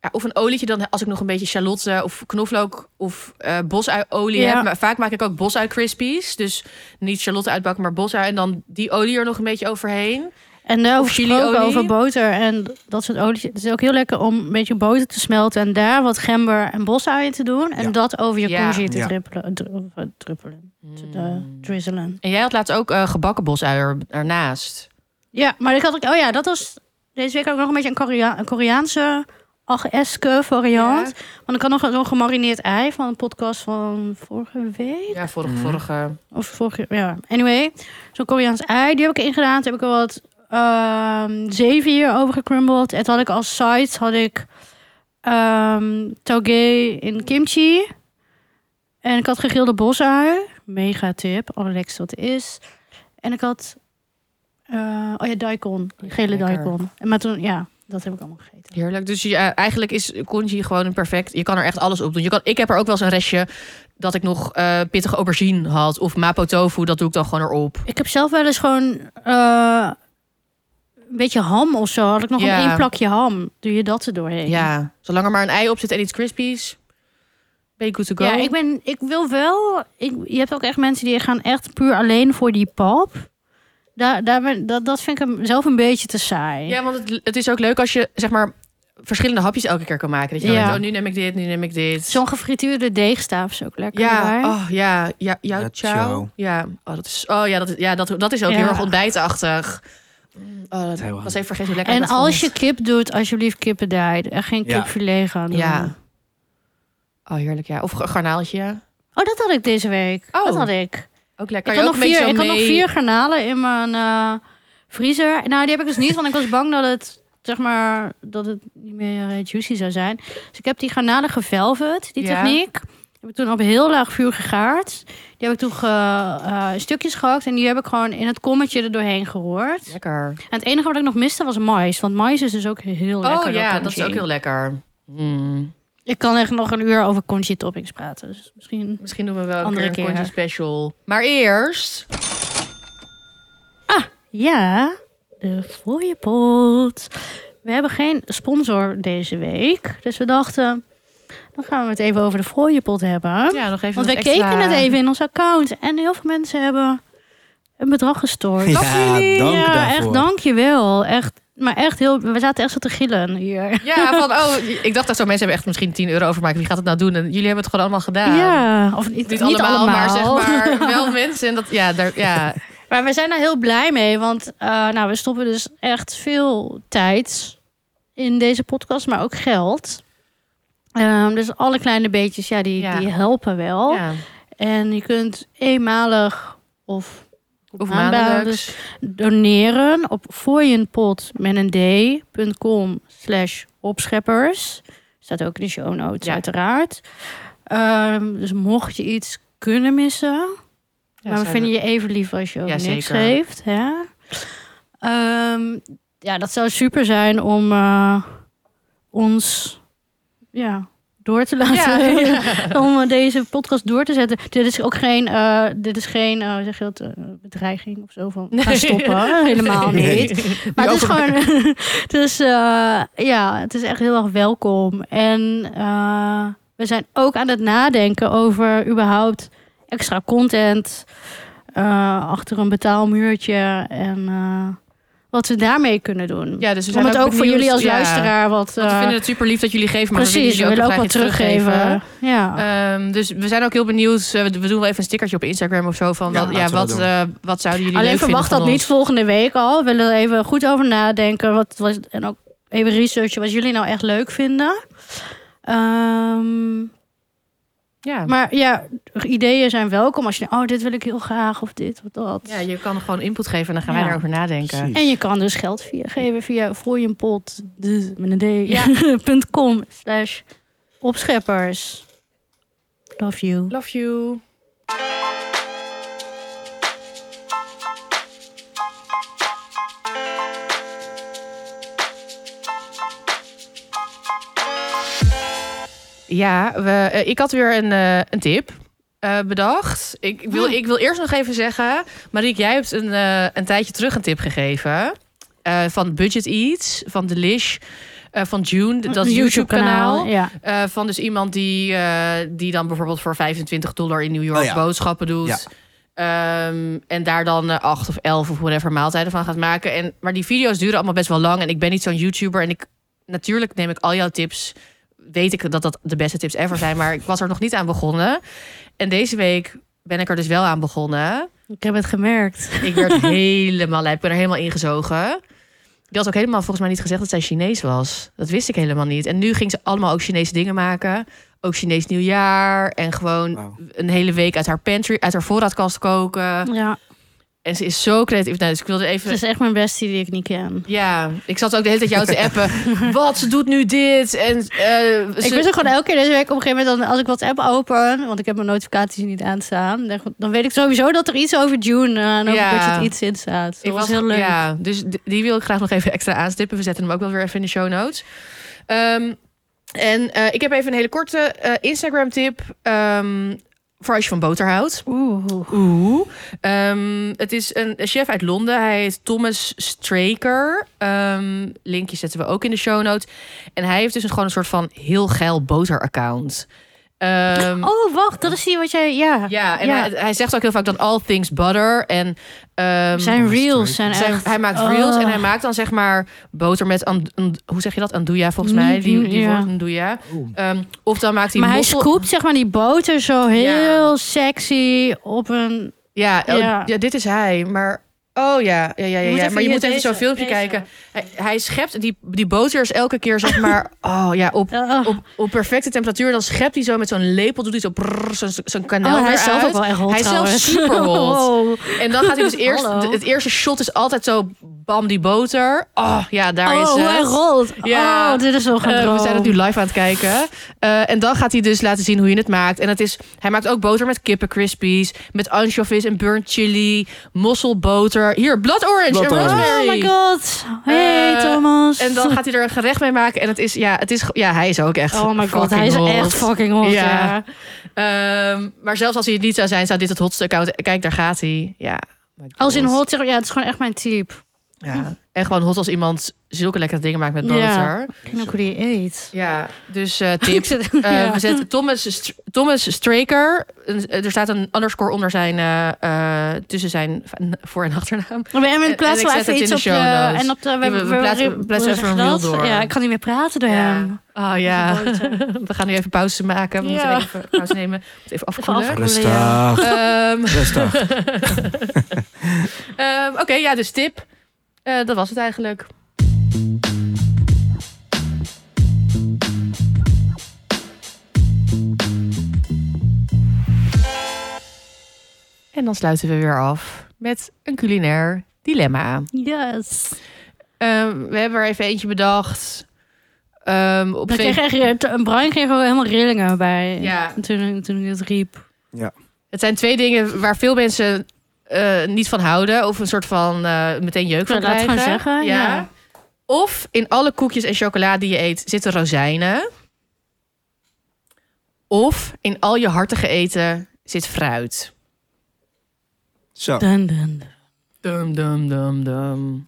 Speaker 2: Ja, of een olietje dan als ik nog een beetje shalotte of knoflook of eh bosuiolie
Speaker 3: Ja.
Speaker 2: heb. Maar vaak maak ik ook bosui crispies. Dus niet shalotte uitbakken, maar bosui. En dan die olie er nog een beetje overheen.
Speaker 3: En daarover
Speaker 2: Of
Speaker 3: gesproken
Speaker 2: chiliolie.
Speaker 3: over boter en dat soort olie. Het is ook heel lekker om een beetje boter te smelten en daar wat gember en bosuien te doen. En
Speaker 1: Ja.
Speaker 3: dat over je
Speaker 2: Ja.
Speaker 3: congee te
Speaker 1: Ja.
Speaker 3: druppelen. dru- of, eh, druppelen, te, eh, drizzelen.
Speaker 2: En jij had laatst ook eh, gebakken bosui er- ernaast.
Speaker 3: Ja, maar ik had ook, oh ja, dat was deze week ook nog een beetje een, Korea- een Koreaanse acheske variant. Want ik had nog zo'n gemarineerd ei van een podcast van vorige week.
Speaker 2: Ja, vorige.
Speaker 1: Mhm.
Speaker 2: vorige.
Speaker 3: Of vorige, ja. Anyway, zo'n Koreaans ei, die heb ik erin gedaan. Toen heb ik er wat ehm zeevier over gecrumbled. En toen had ik als side had ik ehm tauge in kimchi. En ik had gegrilde bosui. Mega tip, allerlekst wat het is. En ik had, eh, oh ja, daikon, gele
Speaker 2: Lekker.
Speaker 3: daikon. En Maar toen, ja, Dat heb ik allemaal gegeten.
Speaker 2: Heerlijk. Dus ja, eigenlijk is congee gewoon een perfect. Je kan er echt alles op doen. Je kan, ik heb er ook wel eens een restje dat ik nog eh pittige aubergine had. Of mapo tofu, dat doe ik dan gewoon erop.
Speaker 3: Ik heb zelf wel eens gewoon eh, een beetje ham of zo. Had ik nog
Speaker 2: Ja.
Speaker 3: een één plakje ham. Doe je dat er doorheen?
Speaker 2: Ja, zolang er maar een ei op zit en iets crispies. Ben je good to go.
Speaker 3: Ja, ik, ben, ik wil wel. Ik, je hebt ook echt mensen die gaan echt puur alleen voor die pap. Daar, daar ben, dat, dat vind ik hem zelf een beetje te saai.
Speaker 2: Ja, want het, het is ook leuk als je zeg maar verschillende hapjes elke keer kan maken. Dat je
Speaker 3: Ja.
Speaker 2: denkt, oh, nu neem ik dit, nu neem ik dit.
Speaker 3: Zo'n gefrituurde deegstaaf is ook lekker.
Speaker 2: ja,
Speaker 3: hoor.
Speaker 2: oh, ja, ja, jouw
Speaker 1: Ja,
Speaker 2: chow.
Speaker 1: chow.
Speaker 2: Ja, oh, dat is, oh ja, dat, is- ja dat, dat is ook
Speaker 3: Ja.
Speaker 2: heel erg ontbijtachtig. Mm, Oh, dat
Speaker 1: Heel
Speaker 2: was
Speaker 1: handig.
Speaker 2: even vergeten hoe lekker
Speaker 3: en
Speaker 2: ik dat
Speaker 3: als je
Speaker 2: vond.
Speaker 3: kip doet, alsjeblieft kippen daar. En geen
Speaker 1: Ja.
Speaker 3: kipfilet gaan doen.
Speaker 2: Ja. Oh, heerlijk, ja. Of een garnaaltje.
Speaker 3: Oh, dat had ik deze week.
Speaker 2: Oh.
Speaker 3: Dat had ik.
Speaker 2: Ook lekker.
Speaker 3: Ik
Speaker 2: je
Speaker 3: had,
Speaker 2: ook
Speaker 3: nog
Speaker 2: een beetje
Speaker 3: vier,
Speaker 2: zo
Speaker 3: ik had nog
Speaker 2: mee-
Speaker 3: vier garnalen in mijn eh, vriezer. Nou, die heb ik dus niet, want ik was bang dat het, zeg maar, dat het niet meer eh, juicy zou zijn. Dus ik heb die garnalen gevelvet, die
Speaker 2: Ja.
Speaker 3: techniek. Heb ik toen op heel laag vuur gegaard. Die heb ik toen ge, eh, in stukjes gehakt en die heb ik gewoon in het kommetje er doorheen geroerd.
Speaker 2: Lekker.
Speaker 3: En het enige wat ik nog miste was mais, want mais is dus ook heel lekker.
Speaker 2: Oh
Speaker 3: door
Speaker 2: ja, dat
Speaker 3: congee.
Speaker 2: is ook heel lekker. Mm.
Speaker 3: Ik kan echt nog een uur over congee toppings praten, dus misschien...
Speaker 2: Misschien doen we wel een
Speaker 3: Andere
Speaker 2: keer een
Speaker 3: keer.
Speaker 2: congee special. Maar eerst...
Speaker 3: Ja, de fooiepot. We hebben geen sponsor deze week. Dus we dachten, dan gaan we het even over de fooiepot hebben.
Speaker 2: Ja, nog even
Speaker 3: Oh, Want we
Speaker 2: wat extra-
Speaker 3: keken het even in ons account. En heel veel mensen hebben een bedrag gestort.
Speaker 1: Ja, dank
Speaker 3: Oh, ja
Speaker 1: daarvoor.
Speaker 3: echt dankjewel. Echt, maar echt heel, we zaten echt zo te gillen hier.
Speaker 2: Ja, van oh, ik dacht dat zo mensen hebben echt misschien 10 euro overmaken. Wie gaat het nou doen? En jullie hebben het gewoon allemaal gedaan.
Speaker 3: Ja, of niet,
Speaker 2: Niet, allemaal, maar zeg maar wel mensen. En dat, ja, daar, ja,
Speaker 3: Maar we zijn daar heel blij mee, want eh, nou, we stoppen dus echt veel tijd in deze podcast, maar ook geld. Ehm, dus alle kleine beetjes, ja, die,
Speaker 2: Ja.
Speaker 3: die helpen wel.
Speaker 2: ja.
Speaker 3: En je kunt eenmalig of
Speaker 2: Of
Speaker 3: Maandelijks.
Speaker 2: maandelijks.
Speaker 3: doneren op fooienpot met een d.com slash opscheppers. Staat ook in de show notes,
Speaker 2: Ja.
Speaker 3: uiteraard. Ehm, dus mocht je iets kunnen missen,
Speaker 2: Ja,
Speaker 3: maar we
Speaker 2: zijn
Speaker 3: vinden je even lief als je ook
Speaker 2: Ja,
Speaker 3: niks
Speaker 2: zeker.
Speaker 3: geeft. Hè? Ehm, ja, dat zou super zijn om eh, ons ja, door te laten.
Speaker 2: Ja,
Speaker 3: om eh, deze podcast door te zetten. Dit is ook geen, eh, dit is geen eh, hoe zeg je dat, eh, bedreiging of zo van gaan
Speaker 2: Nee.
Speaker 3: stoppen. Helemaal
Speaker 1: Nee.
Speaker 3: niet. Maar het is gewoon, het is, eh, ja, het is echt heel erg welkom. En eh, we zijn ook aan het nadenken over überhaupt extra content eh, achter een betaalmuurtje en eh, wat we daarmee kunnen doen.
Speaker 2: Ja, dus we
Speaker 3: Om
Speaker 2: zijn
Speaker 3: het ook voor
Speaker 2: benieuwd-
Speaker 3: jullie als
Speaker 2: ja.
Speaker 3: luisteraar wat.
Speaker 2: Want we
Speaker 3: eh,
Speaker 2: vinden het super lief dat jullie geven, maar
Speaker 3: precies,
Speaker 2: we
Speaker 3: we willen
Speaker 2: willen
Speaker 3: ook
Speaker 2: jullie ook
Speaker 3: wat
Speaker 2: graag iets
Speaker 3: teruggeven. Ja.
Speaker 1: Ah.
Speaker 2: Ehm, dus we zijn ook heel benieuwd. Eh, we we doen wel even een stickertje op Instagram of zo. Van
Speaker 1: Ja,
Speaker 2: wat, ja,
Speaker 1: laten we
Speaker 2: wat,
Speaker 1: dat doen.
Speaker 2: eh, wat zouden jullie
Speaker 3: Alleen
Speaker 2: leuk vinden
Speaker 3: verwacht
Speaker 2: van
Speaker 3: dat
Speaker 2: ons?
Speaker 3: niet volgende week al. We willen er even goed over nadenken. Wat was, en ook even researchen wat jullie nou echt leuk vinden. Ehm,
Speaker 2: Ja.
Speaker 3: maar ja, ideeën zijn welkom. Als je denkt, oh, dit wil ik heel graag of dit of dat.
Speaker 2: ja, je kan gewoon input geven en dan gaan
Speaker 3: Ja.
Speaker 2: wij daarover nadenken.
Speaker 1: Precies.
Speaker 3: En je kan dus geld via, geven via fooienpot, de- met een d,
Speaker 2: Ja.
Speaker 3: punt com slash opscheppers. Love you.
Speaker 2: Love you. Ja, we, eh, ik had weer een, eh, een tip eh, bedacht. Ik wil, ik wil eerst nog even zeggen, Mariek, jij hebt een, eh, een tijdje terug een tip gegeven. eh, van Budget Eats, van Delish, eh, van June, dat
Speaker 3: Een
Speaker 2: YouTube-kanaal.
Speaker 3: Ja.
Speaker 2: Eh, van dus iemand die, eh, die dan bijvoorbeeld voor 25 dollar in New York
Speaker 1: Oh ja.
Speaker 2: boodschappen doet.
Speaker 1: Ja.
Speaker 2: Ehm, en daar dan eh, acht of elf of whatever maaltijden van gaat maken. En, maar die video's duren allemaal best wel lang. En ik ben niet zo'n YouTuber. En ik natuurlijk neem ik al jouw tips. Weet ik dat dat de beste tips ever zijn. Maar ik was er nog niet aan begonnen. En deze week ben ik er dus wel aan begonnen.
Speaker 3: Ik heb het gemerkt.
Speaker 2: Ik werd helemaal lijp. Ik ben er helemaal ingezogen. Die had ook helemaal volgens mij niet gezegd dat zij Chinees was. Dat wist ik helemaal niet. En nu ging ze allemaal ook Chinese dingen maken. Ook Chinees nieuwjaar. En gewoon
Speaker 1: Wauw.
Speaker 2: een hele week uit haar pantry, uit haar voorraadkast koken.
Speaker 3: Ja.
Speaker 2: En ze is zo creatief. Nou, dus ik wilde even...
Speaker 3: Het is echt mijn bestie die ik niet ken.
Speaker 2: Ja, ik zat ook de hele tijd jou te appen. Wat, ze doet nu dit. En, eh, ze-
Speaker 3: Ik wist ook gewoon elke keer deze week op een gegeven moment... Dan, als ik WhatsApp open, want ik heb mijn notificaties niet aanstaan... dan- dan weet ik sowieso dat er iets over June eh, en over
Speaker 2: Ja.
Speaker 3: Budget iets in staat. Dat
Speaker 2: Ik
Speaker 3: was heel leuk.
Speaker 2: Ja, dus d- die wil ik graag nog even extra aanstippen. We zetten hem ook wel weer even in de show notes. Ehm, en eh, ik heb even een hele korte eh, Instagram tip. ehm, voor als je van boter houdt.
Speaker 3: Oeh.
Speaker 2: Oeh. Ehm, het is een chef uit Londen. Hij heet Thomas Straker. Ehm, linkje zetten we ook in de show notes. En hij heeft dus een- gewoon een soort van heel geil boter-account. Ehm,
Speaker 3: Oh, wacht, dat is die wat jij... Ja,
Speaker 2: Ja, en
Speaker 3: ja.
Speaker 2: Hij, hij zegt ook heel vaak dan all things butter. En ehm,
Speaker 3: zijn reels zijn
Speaker 2: zijn-
Speaker 3: echt...
Speaker 2: hij maakt
Speaker 3: oh.
Speaker 2: reels en hij maakt dan zeg maar boter met and, and- hoe zeg je dat? Andouja volgens mij. Die, die
Speaker 3: Mm, Ja.
Speaker 2: woord andouja. Ehm, of dan maakt hij
Speaker 3: maar hij
Speaker 2: mossel-
Speaker 3: scoopt zeg maar die boter zo heel sexy op een...
Speaker 2: Ja, oh,
Speaker 3: Ja.
Speaker 2: ja. dit is hij. Maar oh ja, ja, ja, ja, ja. maar je moet even zo'n filmpje kijken. Hij, hij schept die, die boters elke keer zeg maar oh ja op,
Speaker 3: Oh,
Speaker 2: op, op perfecte temperatuur. Dan schept hij zo met zo'n lepel doet hij zo brrr, zo'n zo'n kanaal
Speaker 3: oh, hij
Speaker 2: eruit.
Speaker 3: is zelf ook wel echt hot
Speaker 2: Hij is zelf
Speaker 3: trouwens. Oh,
Speaker 2: super hot.
Speaker 3: Wow.
Speaker 2: En dan gaat hij dus eerst.
Speaker 3: Hallo.
Speaker 2: de- Het eerste shot is altijd zo bam die boter. Oh ja, daar
Speaker 3: Oh,
Speaker 2: is
Speaker 3: hoe
Speaker 2: het.
Speaker 3: hij rolt.
Speaker 2: Ja.
Speaker 3: Oh, dit is wel
Speaker 2: Eh,
Speaker 3: gedroomd.
Speaker 2: we zijn het nu live aan het kijken. Eh, en dan gaat hij dus laten zien hoe je het maakt. En het is, hij maakt ook boter met kippen crispies, met anchovies en burnt chili, mosselboter. Hier, blood orange
Speaker 1: Blood
Speaker 2: en
Speaker 1: orange.
Speaker 2: rosemary.
Speaker 3: Oh my god. Hey
Speaker 2: Eh,
Speaker 3: Thomas.
Speaker 2: En dan gaat hij er een gerecht mee maken. En het is, ja, het is, ge- ja hij is ook echt
Speaker 3: Oh my god, hij is
Speaker 2: fucking
Speaker 3: echt
Speaker 2: hot.
Speaker 3: fucking hot. Ja.
Speaker 2: Ja. Ehm, maar zelfs als hij het niet zou zijn, zou dit het hotste account. Kijk, daar gaat hij. Ja. my
Speaker 3: Als in
Speaker 2: god.
Speaker 3: hot, zeg- ja, het is gewoon echt mijn type.
Speaker 2: Ja. En gewoon hot als iemand zulke lekkere dingen maakt met
Speaker 3: Ja.
Speaker 2: boter.
Speaker 3: Ik weet ook hoe die eet.
Speaker 2: Ja, dus eh
Speaker 3: Ik
Speaker 2: tips.
Speaker 3: zit-
Speaker 2: Eh,
Speaker 3: ja.
Speaker 2: We zetten Thomas, Str- Thomas Straker. Een- eh, Er staat een underscore onder zijn, eh, eh, tussen zijn va- voor- en achternaam.
Speaker 3: Maar bij Emmen
Speaker 2: en-
Speaker 3: plaatsen
Speaker 2: en
Speaker 3: we
Speaker 2: ik
Speaker 3: even
Speaker 2: zet het
Speaker 3: iets
Speaker 2: in
Speaker 3: op
Speaker 2: de
Speaker 3: je...
Speaker 2: show notes.
Speaker 3: En op de,
Speaker 2: Ja, we- we plaatsen- we plaatsen
Speaker 3: hoe zeg
Speaker 2: even een
Speaker 3: je dat?
Speaker 2: reel door.
Speaker 3: Ja, ik kan niet meer praten door hem.
Speaker 2: Oh ja,
Speaker 3: Boter.
Speaker 2: we gaan nu even pauze maken. We
Speaker 3: Ja.
Speaker 2: moeten even pauze nemen. We moeten even afkoelen.
Speaker 3: afkoelen.
Speaker 1: Rustig,
Speaker 2: Ehm,
Speaker 1: rustig.
Speaker 2: ehm, Oké, ja, dus tip. Eh, dat was het eigenlijk. En dan sluiten we weer af met een culinair dilemma.
Speaker 3: Yes.
Speaker 2: Ehm, we hebben er even eentje bedacht. Ehm, op
Speaker 3: Dan
Speaker 2: vee-
Speaker 3: kreeg echt, eh, Brian kreeg gewoon helemaal rillingen bij.
Speaker 2: Ja.
Speaker 3: Toen, toen ik het riep.
Speaker 2: Het zijn twee dingen waar veel mensen eh, niet van houden. Of een soort van eh, meteen jeuk van
Speaker 3: Nou, laat het
Speaker 2: krijgen.
Speaker 3: gewoon zeggen, ja.
Speaker 2: Of in alle koekjes en chocolade die je eet zitten rozijnen. Of in al je hartige eten zit fruit.
Speaker 1: Zo.
Speaker 3: Dun, dun, dun.
Speaker 2: Dum, dum, dum, dum.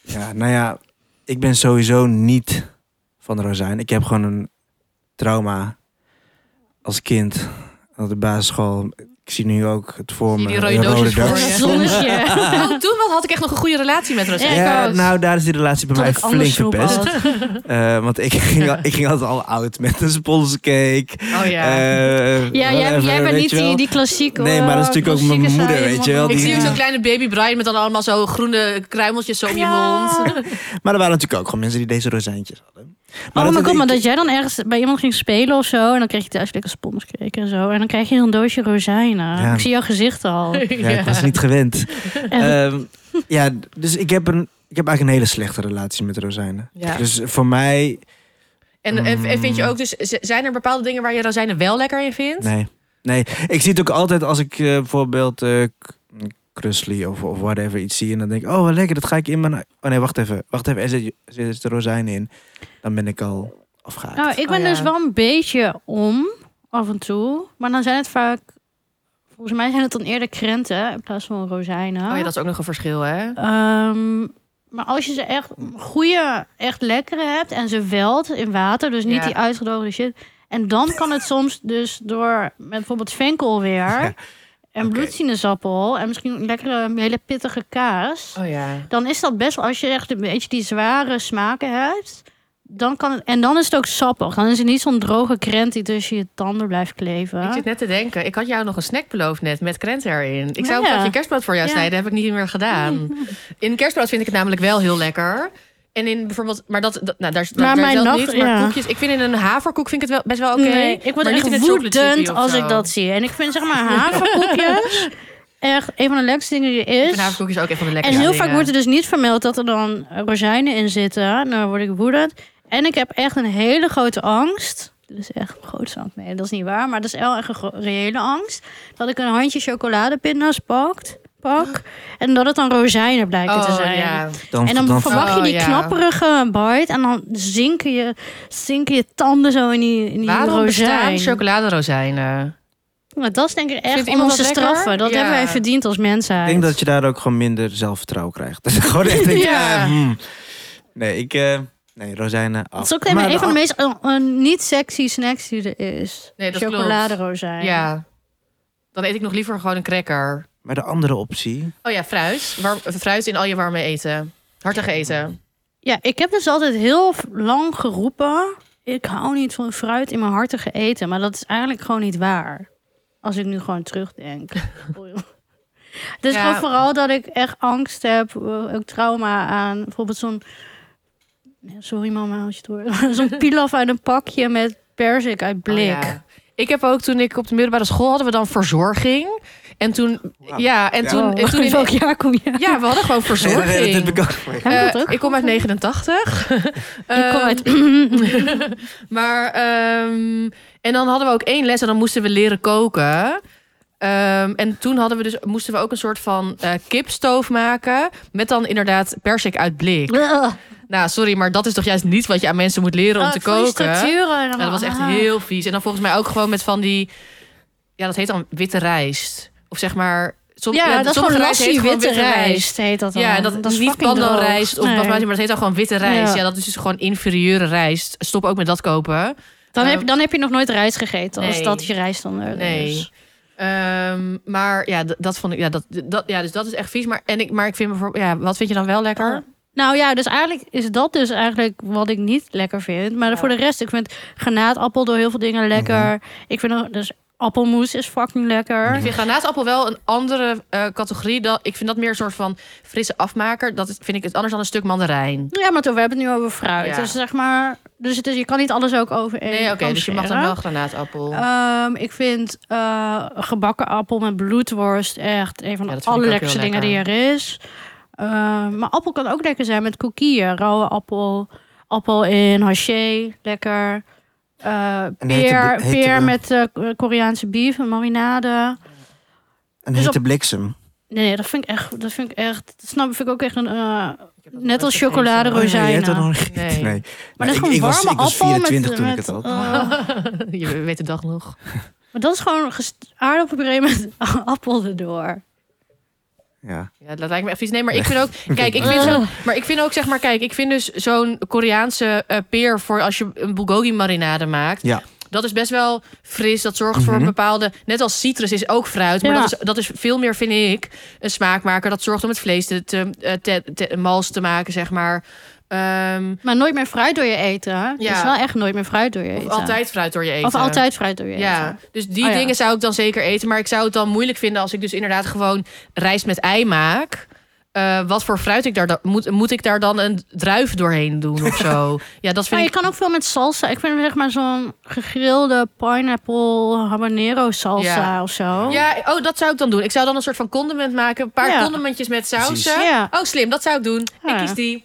Speaker 1: Ja, nou ja, ik ben sowieso niet van de rozijn. Ik heb gewoon een trauma als kind op de basisschool. Ik zie nu ook het voor
Speaker 2: Zie
Speaker 1: me. eh,
Speaker 2: die rode doosjes voor
Speaker 3: Dat
Speaker 1: doos.
Speaker 2: je.
Speaker 3: zonnetje.
Speaker 2: Oh, toen wel had ik echt nog een goede relatie met
Speaker 3: Ja,
Speaker 2: rozijnen.
Speaker 3: ik
Speaker 1: Ja,
Speaker 3: ook.
Speaker 1: nou, daar is die relatie bij
Speaker 3: Tot
Speaker 1: mij
Speaker 3: ik anders
Speaker 1: flink
Speaker 3: snoep
Speaker 1: verpest.
Speaker 3: had.
Speaker 1: Eh, want ik ging, al- ik ging altijd al oud met een sponsorcake.
Speaker 2: Oh ja.
Speaker 1: eh,
Speaker 3: Ja, jij,
Speaker 1: whatever,
Speaker 3: jij bent
Speaker 1: weet
Speaker 3: niet
Speaker 1: je wel.
Speaker 3: die, die klassieke...
Speaker 1: Nee, maar dat is
Speaker 3: eh,
Speaker 1: natuurlijk ook mijn
Speaker 3: klassieke
Speaker 1: moeder,
Speaker 3: saaie
Speaker 1: weet je wel, die-
Speaker 3: man.
Speaker 2: ik zie ook zo'n
Speaker 3: Ja.
Speaker 2: kleine baby Brian met dan allemaal zo groene kruimeltjes zo om
Speaker 3: Ja.
Speaker 2: je mond.
Speaker 1: Maar er waren natuurlijk ook gewoon mensen die deze rozijntjes hadden.
Speaker 3: oh mijn god, maar
Speaker 1: ik-
Speaker 3: dat jij dan ergens bij iemand ging spelen of zo... en dan kreeg je thuis lekker spons kreken en zo... en dan krijg je een doosje rozijnen.
Speaker 1: Ja.
Speaker 3: Ik zie jouw gezicht al.
Speaker 1: Ja, ik was niet gewend. Ehm, ja, dus ik heb, een, ik heb eigenlijk een hele slechte relatie met rozijnen.
Speaker 2: Ja.
Speaker 1: Dus voor mij,
Speaker 2: En, en- en vind je
Speaker 1: Mm.
Speaker 2: ook dus, z- zijn er bepaalde dingen waar je rozijnen wel lekker in vindt?
Speaker 1: nee. Nee, ik zie het ook altijd als ik eh, bijvoorbeeld eh k- krusli of, of whatever iets zie. En dan denk ik, oh wat lekker, dat ga ik in mijn... Oh nee, wacht even. Wacht even, er zit, er zit de rozijn in. Dan ben ik al afgehaakt.
Speaker 3: Nou, ik ben
Speaker 2: Oh, ja.
Speaker 3: dus wel een beetje om, af en toe. Maar dan zijn het vaak... Volgens mij zijn het dan eerder krenten in plaats van rozijnen.
Speaker 2: Oh ja, dat is ook nog een verschil, hè?
Speaker 3: Ehm, maar als je ze echt goede, echt lekkere hebt... en ze welt in water, dus niet
Speaker 2: Ja.
Speaker 3: die uitgedroogde shit... en dan kan het soms dus door met bijvoorbeeld venkel weer...
Speaker 1: Ja.
Speaker 3: en
Speaker 1: Oké.
Speaker 3: bloedsinezappel... en misschien een lekkere, een hele pittige kaas...
Speaker 2: Oh ja.
Speaker 3: dan is dat best wel, als je echt een beetje die zware smaken hebt, dan kan het, en dan is het ook sappig. Dan is het niet zo'n droge krent die tussen je tanden blijft
Speaker 2: Ik
Speaker 3: kleven.
Speaker 2: zit net te denken, ik had jou nog een snack beloofd net met krenten erin. Ik zou
Speaker 3: Oh Ja.
Speaker 2: een pakje kerstbrood voor jou
Speaker 3: Ja.
Speaker 2: snijden, heb ik niet meer gedaan. In kerstbrood vind ik het namelijk wel heel lekker. En in bijvoorbeeld, maar dat, dat- nou, daar, daar
Speaker 3: mijn
Speaker 2: zelf
Speaker 3: nacht-
Speaker 2: niet, maar
Speaker 3: ja.
Speaker 2: koekjes. Ik vind in een haverkoek vind ik het wel, best wel oké.
Speaker 3: Nee, ik word
Speaker 2: maar niet in
Speaker 3: echt
Speaker 2: een chocolate chippy
Speaker 3: woedend
Speaker 2: of
Speaker 3: als
Speaker 2: zo.
Speaker 3: ik dat zie. En ik vind zeg maar haverkoekjes. echt een van de lekkerste dingen die er
Speaker 2: Ik
Speaker 3: is.
Speaker 2: vind haverkoekjes ook een van de
Speaker 3: En
Speaker 2: lekkerste
Speaker 3: heel
Speaker 2: dingen.
Speaker 3: vaak wordt er dus niet vermeld dat er dan rozijnen in zitten. Nou, dan word ik woedend. En ik heb echt een hele grote angst. Dit is echt mijn grootste angst. Nee, dat is niet waar. Maar dat is wel echt een gro- reële angst. Dat ik een handje chocoladepinda's pakt, pak. En dat het dan rozijnen blijken te zijn.
Speaker 2: Oh, ja.
Speaker 1: Dan,
Speaker 3: En dan,
Speaker 1: dan-
Speaker 3: verwacht je
Speaker 2: Oh,
Speaker 3: die
Speaker 2: ja.
Speaker 3: knapperige bite. En dan zinken je, zinken je tanden zo in die, in die
Speaker 2: Waarom bestaan
Speaker 3: rozijn.
Speaker 2: chocoladerozijnen?
Speaker 3: Nou, dat is denk ik echt
Speaker 2: Vindt
Speaker 3: om
Speaker 2: iemand
Speaker 3: ons te
Speaker 2: dat lekker?
Speaker 3: straffen. Dat
Speaker 2: Ja.
Speaker 3: hebben wij verdiend als
Speaker 1: ik
Speaker 3: mensheid.
Speaker 1: denk dat je daar ook gewoon minder zelfvertrouwen krijgt. Dat je gewoon echt denkt,
Speaker 2: Ja.
Speaker 1: eh, hmm. Nee, ik... eh, nee, rozijnen af.
Speaker 3: Dat is ook een,
Speaker 1: Maar
Speaker 3: een van de
Speaker 1: de
Speaker 3: meest eh, eh, niet sexy snacks die er is.
Speaker 2: Nee, dat klopt.
Speaker 3: Chocoladerozijn.
Speaker 2: Ja. Dan eet ik nog liever gewoon een cracker.
Speaker 1: an- Maar de andere optie...
Speaker 2: Oh ja, fruit. Warm, fruit in al je warme eten. Hartig eten. Oh
Speaker 3: ja, ik heb dus altijd heel v- lang geroepen... ik hou niet van fruit in mijn hartige eten. Maar dat is eigenlijk gewoon niet waar. Als ik nu gewoon terugdenk. Het is
Speaker 2: Ja.
Speaker 3: gewoon vooral dat ik echt angst heb. eh, Ook trauma aan bijvoorbeeld zo'n... Ja, Sorry mama, als je het hoort. zo'n pilaf uit een pakje met perzik uit blik.
Speaker 2: Oh ja. Ik heb ook toen ik op de middelbare school hadden we dan verzorging. En toen, ja, en
Speaker 1: Nou, Ja.
Speaker 2: toen, en
Speaker 3: Oh,
Speaker 2: toen
Speaker 3: in welk jaar kom je?
Speaker 2: ja, we hadden gewoon
Speaker 1: Nee,
Speaker 2: verzorging.
Speaker 1: nee, nee, dat heb ik ook.
Speaker 3: Hebben we dat
Speaker 2: Eh,
Speaker 3: ook
Speaker 2: ik kom uit 89.
Speaker 3: Ik
Speaker 2: ehm,
Speaker 3: kom uit...
Speaker 2: maar, ehm, en dan hadden we ook één les en dan moesten we leren koken. Ehm, en toen hadden we dus, moesten we ook een soort van eh, kipstoof maken. Met dan inderdaad persik uit blik. Nou, sorry, maar dat is toch juist niet wat je aan mensen moet leren om
Speaker 3: Oh,
Speaker 2: te
Speaker 3: voor die
Speaker 2: koken.
Speaker 3: structuren en
Speaker 2: Ja, dat was echt
Speaker 3: allemaal.
Speaker 2: heel vies. En dan volgens mij ook gewoon met van die... Ja, dat heet dan witte rijst. Of zeg maar... Som,
Speaker 3: Ja, dat is
Speaker 2: sommige
Speaker 3: gewoon
Speaker 2: rijst heet
Speaker 3: lassie
Speaker 2: gewoon
Speaker 3: witte rijst, heet dat dan.
Speaker 2: Ja, en dat, is niet
Speaker 3: fucking droog.
Speaker 2: pandanrijst of
Speaker 3: Nee.
Speaker 2: basmati, maar dat heet dan gewoon witte rijst.
Speaker 3: Ja.
Speaker 2: Ja. dat is dus gewoon inferieure rijst. Stop ook met dat kopen.
Speaker 3: Dan, heb,
Speaker 2: Eh,
Speaker 3: dan heb je nog nooit rijst gegeten, als
Speaker 2: nee.
Speaker 3: dat is je rijststandaard.
Speaker 2: Nee.
Speaker 3: is.
Speaker 2: Ehm, maar ja, d- dat vond ik... Ja, dat, dat, ja, dus dat is echt vies. Maar, en ik, maar ik vind bijvoorbeeld... Ja, wat vind je dan wel lekker?
Speaker 3: Nou ja, dus eigenlijk is dat dus eigenlijk wat ik niet lekker vind. Maar voor de rest, ik vind granaatappel door heel veel
Speaker 2: Mhm.
Speaker 3: dingen lekker. Ik vind ook- dus appelmoes is fucking lekker.
Speaker 2: Ik vind granaatappel wel een andere eh, categorie. Dan, ik vind dat meer een soort van frisse afmaker. Dat is- vind ik het anders dan een stuk mandarijn.
Speaker 3: Ja, maar toch, we hebben het nu over fruit.
Speaker 2: Ja.
Speaker 3: Dus zeg maar, dus het is, je kan niet alles ook over één
Speaker 2: Nee, oké,
Speaker 3: kam
Speaker 2: dus je mag dan
Speaker 3: scheren.
Speaker 2: wel granaatappel.
Speaker 3: Ehm, ik vind eh, gebakken appel met bloedworst echt een van de
Speaker 2: Ja, dat vind ik ook
Speaker 3: allerlekkerste
Speaker 2: heel
Speaker 3: dingen die er is. Ehm, maar appel kan ook lekker zijn met koekieën. Rauwe appel, appel in haché, lekker. Eh,
Speaker 1: En hete
Speaker 3: peer,
Speaker 1: bl- hete
Speaker 3: peer
Speaker 1: bl-
Speaker 3: met eh, Koreaanse bief, en marinade.
Speaker 1: Een
Speaker 3: Dus
Speaker 1: hete bliksem.
Speaker 3: Nee, nee, dat vind ik echt, dat vind ik echt, dat snap vind ik ook echt een, eh,
Speaker 2: Ik heb dat
Speaker 3: net
Speaker 2: nooit
Speaker 3: als
Speaker 2: gegeten.
Speaker 3: chocolade
Speaker 1: Oh, nee, je hebt dat
Speaker 3: rozijnen.
Speaker 1: nog niet gegeten?
Speaker 2: Nee.
Speaker 1: Nee.
Speaker 3: Maar dat is
Speaker 1: ik,
Speaker 3: gewoon
Speaker 1: ik was,
Speaker 3: warme
Speaker 1: ik was
Speaker 3: appel met-
Speaker 1: 24 toen ik
Speaker 3: met,
Speaker 1: het had.
Speaker 3: eh,
Speaker 2: je weet de dag nog.
Speaker 3: maar dat is gewoon gest- aardappelpuree met appel erdoor.
Speaker 1: Ja.
Speaker 2: Ja, dat lijkt me echt vies. Nee, maar ik vind ook... Kijk, ik
Speaker 3: Oké.
Speaker 2: vind, zo, maar ik vind ook, zeg maar... Kijk, ik vind dus zo'n Koreaanse eh, peer... voor als je een bulgogi marinade maakt...
Speaker 1: Ja.
Speaker 2: Dat is best wel fris. Dat zorgt voor
Speaker 1: Mhm.
Speaker 2: een bepaalde... Net als citrus is ook fruit. Maar
Speaker 3: Ja.
Speaker 2: dat, is, dat is veel meer, vind ik, een smaakmaker. Dat zorgt om het vlees te, te, eh, te, te- mals te maken, zeg maar. Ehm,
Speaker 3: Maar nooit meer fruit door je eten. Ja.
Speaker 2: Ja.
Speaker 3: is wel echt nooit meer fruit door je
Speaker 2: of
Speaker 3: eten.
Speaker 2: altijd fruit door je eten.
Speaker 3: Of altijd fruit door je
Speaker 2: Ja,
Speaker 3: eten.
Speaker 2: dus die
Speaker 3: Oh ja.
Speaker 2: dingen zou ik dan zeker eten. Maar ik zou het dan moeilijk vinden als ik dus inderdaad gewoon rijst met ei maak. Eh, wat voor fruit ik daar dan... Moet, moet ik daar dan een druif doorheen doen of zo? ja, dat
Speaker 3: Maar
Speaker 2: vind
Speaker 3: Ah, je
Speaker 2: ik...
Speaker 3: kan ook veel met salsa. Ik vind zeg maar zo'n gegrilde pineapple habanero salsa
Speaker 2: Ja.
Speaker 3: of zo.
Speaker 2: Ja, oh, dat zou ik dan doen. Ik zou dan een soort van condiment maken. Een paar
Speaker 3: Ja.
Speaker 2: condimentjes met sausen.
Speaker 3: Precies. Ja.
Speaker 2: Oh, slim. Dat zou ik doen.
Speaker 3: Ja.
Speaker 2: Ik kies die.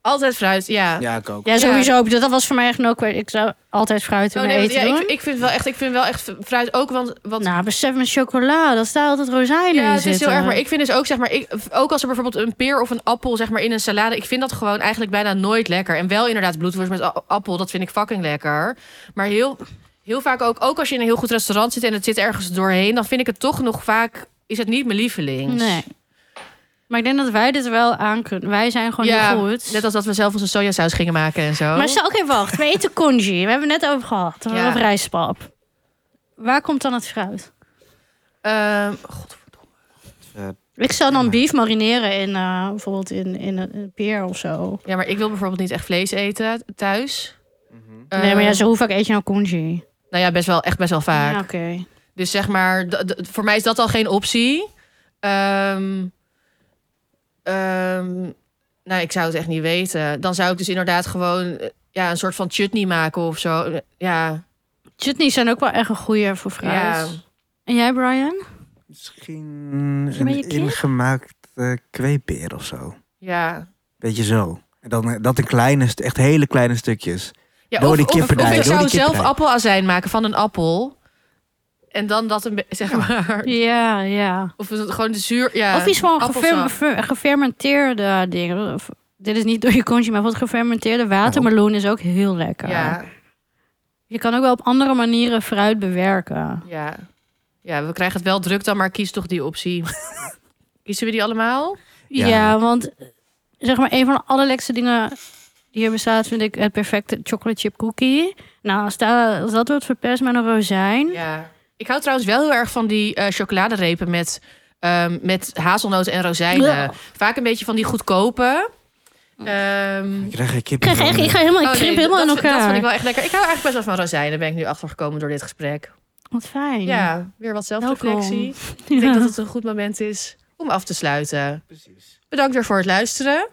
Speaker 2: Altijd fruit, ja.
Speaker 1: Ja, ik ook.
Speaker 3: Ja, sowieso. Dat, dat was voor mij echt ook. Ik zou altijd fruit in
Speaker 2: Oh,
Speaker 3: mijn
Speaker 2: nee, want-
Speaker 3: eten
Speaker 2: ja,
Speaker 3: doen.
Speaker 2: ik, ik, vind wel echt, ik vind wel echt fruit ook, want... want
Speaker 3: Nou, besef met chocola. Dat staat altijd rozijnen
Speaker 2: Ja,
Speaker 3: in
Speaker 2: het is heel
Speaker 3: zitten.
Speaker 2: erg. Maar ik vind dus ook, zeg maar, ik, ook als er bijvoorbeeld een peer of een appel zeg maar, in een salade. Ik vind dat gewoon eigenlijk bijna nooit lekker. En wel inderdaad bloedworst met a- appel, dat vind ik fucking lekker. Maar heel, heel vaak ook, ook als je in een heel goed restaurant zit en het zit ergens doorheen, dan vind ik het toch nog vaak, is het niet mijn lievelings.
Speaker 3: Nee. Maar ik denk dat wij dit wel aan kunnen. Wij zijn gewoon
Speaker 2: ja,
Speaker 3: heel goed.
Speaker 2: net als dat we zelf onze sojasaus gingen maken en zo.
Speaker 3: Maar stel- oké, wacht. We eten congee. We hebben het net over gehad. We
Speaker 2: Ja.
Speaker 3: hebben rijstpap. Waar komt dan het fruit?
Speaker 2: Ehm,
Speaker 3: Ik zou dan beef marineren in eh, bijvoorbeeld in, in een een peer of zo.
Speaker 2: ja, maar ik wil bijvoorbeeld niet echt vlees eten thuis.
Speaker 1: Mhm.
Speaker 3: nee, maar ja,
Speaker 2: Ehm,
Speaker 3: zo hoe vaak eet je nou congee?
Speaker 2: Nou ja, best wel, echt best wel vaak.
Speaker 3: Ja, Oké.
Speaker 2: Dus zeg maar, d- d- voor mij is dat al geen optie. Ehm, ehm, nou, ik zou het echt niet weten. Dan zou ik dus inderdaad gewoon eh, ja, een soort van chutney maken of zo. Ja,
Speaker 3: Chutneys zijn ook wel echt een goeie voor fruit.
Speaker 2: ja.
Speaker 3: En jij, Brian?
Speaker 1: Misschien
Speaker 3: Misschien ben je
Speaker 1: een
Speaker 3: kip?
Speaker 1: ingemaakte kweepeer of zo.
Speaker 2: Ja.
Speaker 1: Beetje zo. En dan, eh, dat in kleine, st- echt hele kleine stukjes.
Speaker 2: ja
Speaker 1: Door
Speaker 2: of,
Speaker 1: die
Speaker 2: of-
Speaker 1: kipperdij,
Speaker 2: of ik
Speaker 1: door
Speaker 2: zou
Speaker 1: die
Speaker 2: zelf
Speaker 1: kipperdij.
Speaker 2: appelazijn maken van een appel. En dan dat een be- zeg maar.
Speaker 3: Ja, ja.
Speaker 2: Of het- gewoon de zuur. Ja.
Speaker 3: Of iets van gefer-
Speaker 2: appelsap.
Speaker 3: ver- gefermenteerde dingen. Of- Dit is niet door je kontje, maar wat gefermenteerde watermeloen is ook heel lekker.
Speaker 2: Ja,
Speaker 3: Je kan ook wel op andere manieren fruit bewerken.
Speaker 2: ja. Ja, we krijgen het wel druk dan, maar kies toch die optie. Kiezen we die allemaal?
Speaker 1: Ja.
Speaker 3: Ja, want eh, zeg maar, een van de allerlekste dingen die hier bestaat, vind ik het perfecte chocolate chip cookie. Nou, als, da- als dat wordt verpest met een rozijn.
Speaker 2: Ja. Ik hou trouwens wel heel erg van die eh, chocoladerepen met, ehm, met hazelnoten en rozijnen.
Speaker 3: Ja.
Speaker 2: Vaak een beetje van die goedkope. Ehm,
Speaker 1: Ik krijg er
Speaker 3: Ik,
Speaker 1: kippen
Speaker 3: krijg echt,
Speaker 1: van.
Speaker 3: ik ga helemaal, ik
Speaker 2: oh nee,
Speaker 3: krimp
Speaker 2: dat,
Speaker 3: helemaal in
Speaker 2: vind- Dat
Speaker 3: elkaar.
Speaker 2: vond ik wel echt lekker. Ik hou eigenlijk best wel van rozijnen, ben ik nu achtergekomen door dit gesprek.
Speaker 3: Wat fijn.
Speaker 2: Ja, weer wat zelfreflectie.
Speaker 3: Welkom.
Speaker 2: Ik denk
Speaker 3: Ja.
Speaker 2: dat het een goed moment is om af te sluiten.
Speaker 1: Precies.
Speaker 2: Bedankt weer voor het luisteren.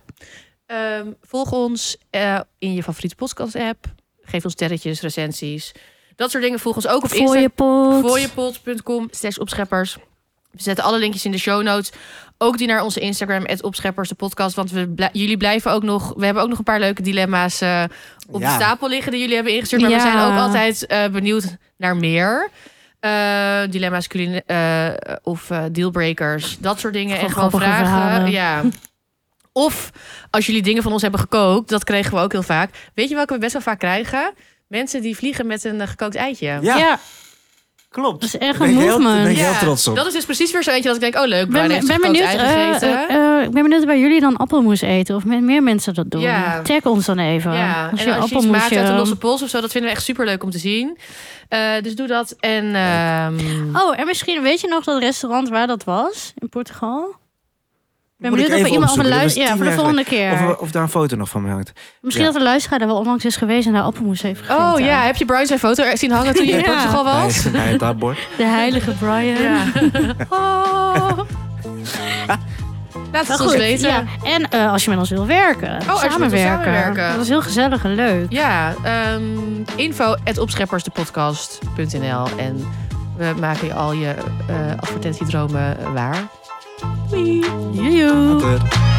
Speaker 2: Ehm, volg ons eh, in je favoriete podcast-app. Geef ons sterretjes, recensies. Dat soort dingen. Volg ons ook op
Speaker 3: Voor je pot.
Speaker 2: Voorjepot.com slash opscheppers. We zetten alle linkjes in de show notes. Ook die naar onze Instagram, het opscheppers, de podcast. Want we blij- jullie blijven ook nog... We hebben ook nog een paar leuke dilemma's eh, op
Speaker 1: Ja.
Speaker 2: de stapel liggen... die jullie hebben ingestuurd. Maar we
Speaker 3: Ja.
Speaker 2: zijn ook altijd eh, benieuwd naar meer. Eh, dilemma's culine- eh, of eh, dealbreakers. Dat soort dingen.
Speaker 3: Gewoon
Speaker 2: en gewoon
Speaker 3: grappige
Speaker 2: vragen.
Speaker 3: verhalen.
Speaker 2: Ja. Of als jullie dingen van ons hebben gekookt. Dat kregen we ook heel vaak. Weet je welke we best wel vaak krijgen? Mensen die vliegen met een eh, gekookt eitje.
Speaker 1: Ja,
Speaker 3: ja,
Speaker 1: klopt.
Speaker 3: dat is echt
Speaker 1: Ben
Speaker 3: een
Speaker 1: ik heel- ben
Speaker 3: movement.
Speaker 1: ik heel trots op.
Speaker 2: Dat is dus precies weer zo eentje dat ik denk, oh leuk,
Speaker 3: Ik
Speaker 2: Brian
Speaker 3: ben, ben,
Speaker 2: heeft
Speaker 3: ben
Speaker 2: gekookt
Speaker 3: benieuwd,
Speaker 2: ei
Speaker 3: eh,
Speaker 2: gegeten.
Speaker 3: eh, eh, ik ben benieuwd waar jullie dan appelmoes eten. Of met meer mensen dat doen.
Speaker 2: Ja.
Speaker 3: Tag ons dan even.
Speaker 2: ja,
Speaker 3: als
Speaker 2: en
Speaker 3: je
Speaker 2: als je iets maakt uit een eh, losse
Speaker 3: appelmoesje...
Speaker 2: pols of zo, dat vinden we echt super leuk om te zien. Eh, dus doe dat. En ehm,
Speaker 3: Oh, en misschien weet je nog dat restaurant waar dat was? In Portugal? Ik ben
Speaker 1: Moet ik
Speaker 3: benieuwd of er
Speaker 1: even
Speaker 3: iemand van
Speaker 1: opzoeken. Dat is
Speaker 3: luistert. Ja,
Speaker 1: tien
Speaker 3: voor de
Speaker 1: jaar
Speaker 3: volgende keer.
Speaker 1: Of, eh, of daar een foto nog van me hangt.
Speaker 3: Misschien
Speaker 1: Ja.
Speaker 3: dat de luisteraar er wel onlangs is geweest en daar appelmoes heeft gegeten.
Speaker 2: oh ja, heb je Brian zijn foto er zien hangen toen je in
Speaker 3: Ja.
Speaker 2: Portugal
Speaker 1: Bij
Speaker 2: was?
Speaker 1: het- Bij het dabbord.
Speaker 3: De heilige Brian.
Speaker 2: Ja. Oh. Laat
Speaker 3: Maar
Speaker 2: het ons
Speaker 3: goed,
Speaker 2: weten.
Speaker 3: ja. En eh, als je met ons wil werken.
Speaker 2: Oh, als je met ons wil
Speaker 3: samenwerken.
Speaker 2: samenwerken.
Speaker 3: Dat is heel gezellig en leuk.
Speaker 2: Ja, ehm info at opscheppersdepodcast.nl en we maken je al je eh advertentiedromen waar.
Speaker 3: Joejoe.
Speaker 1: Later.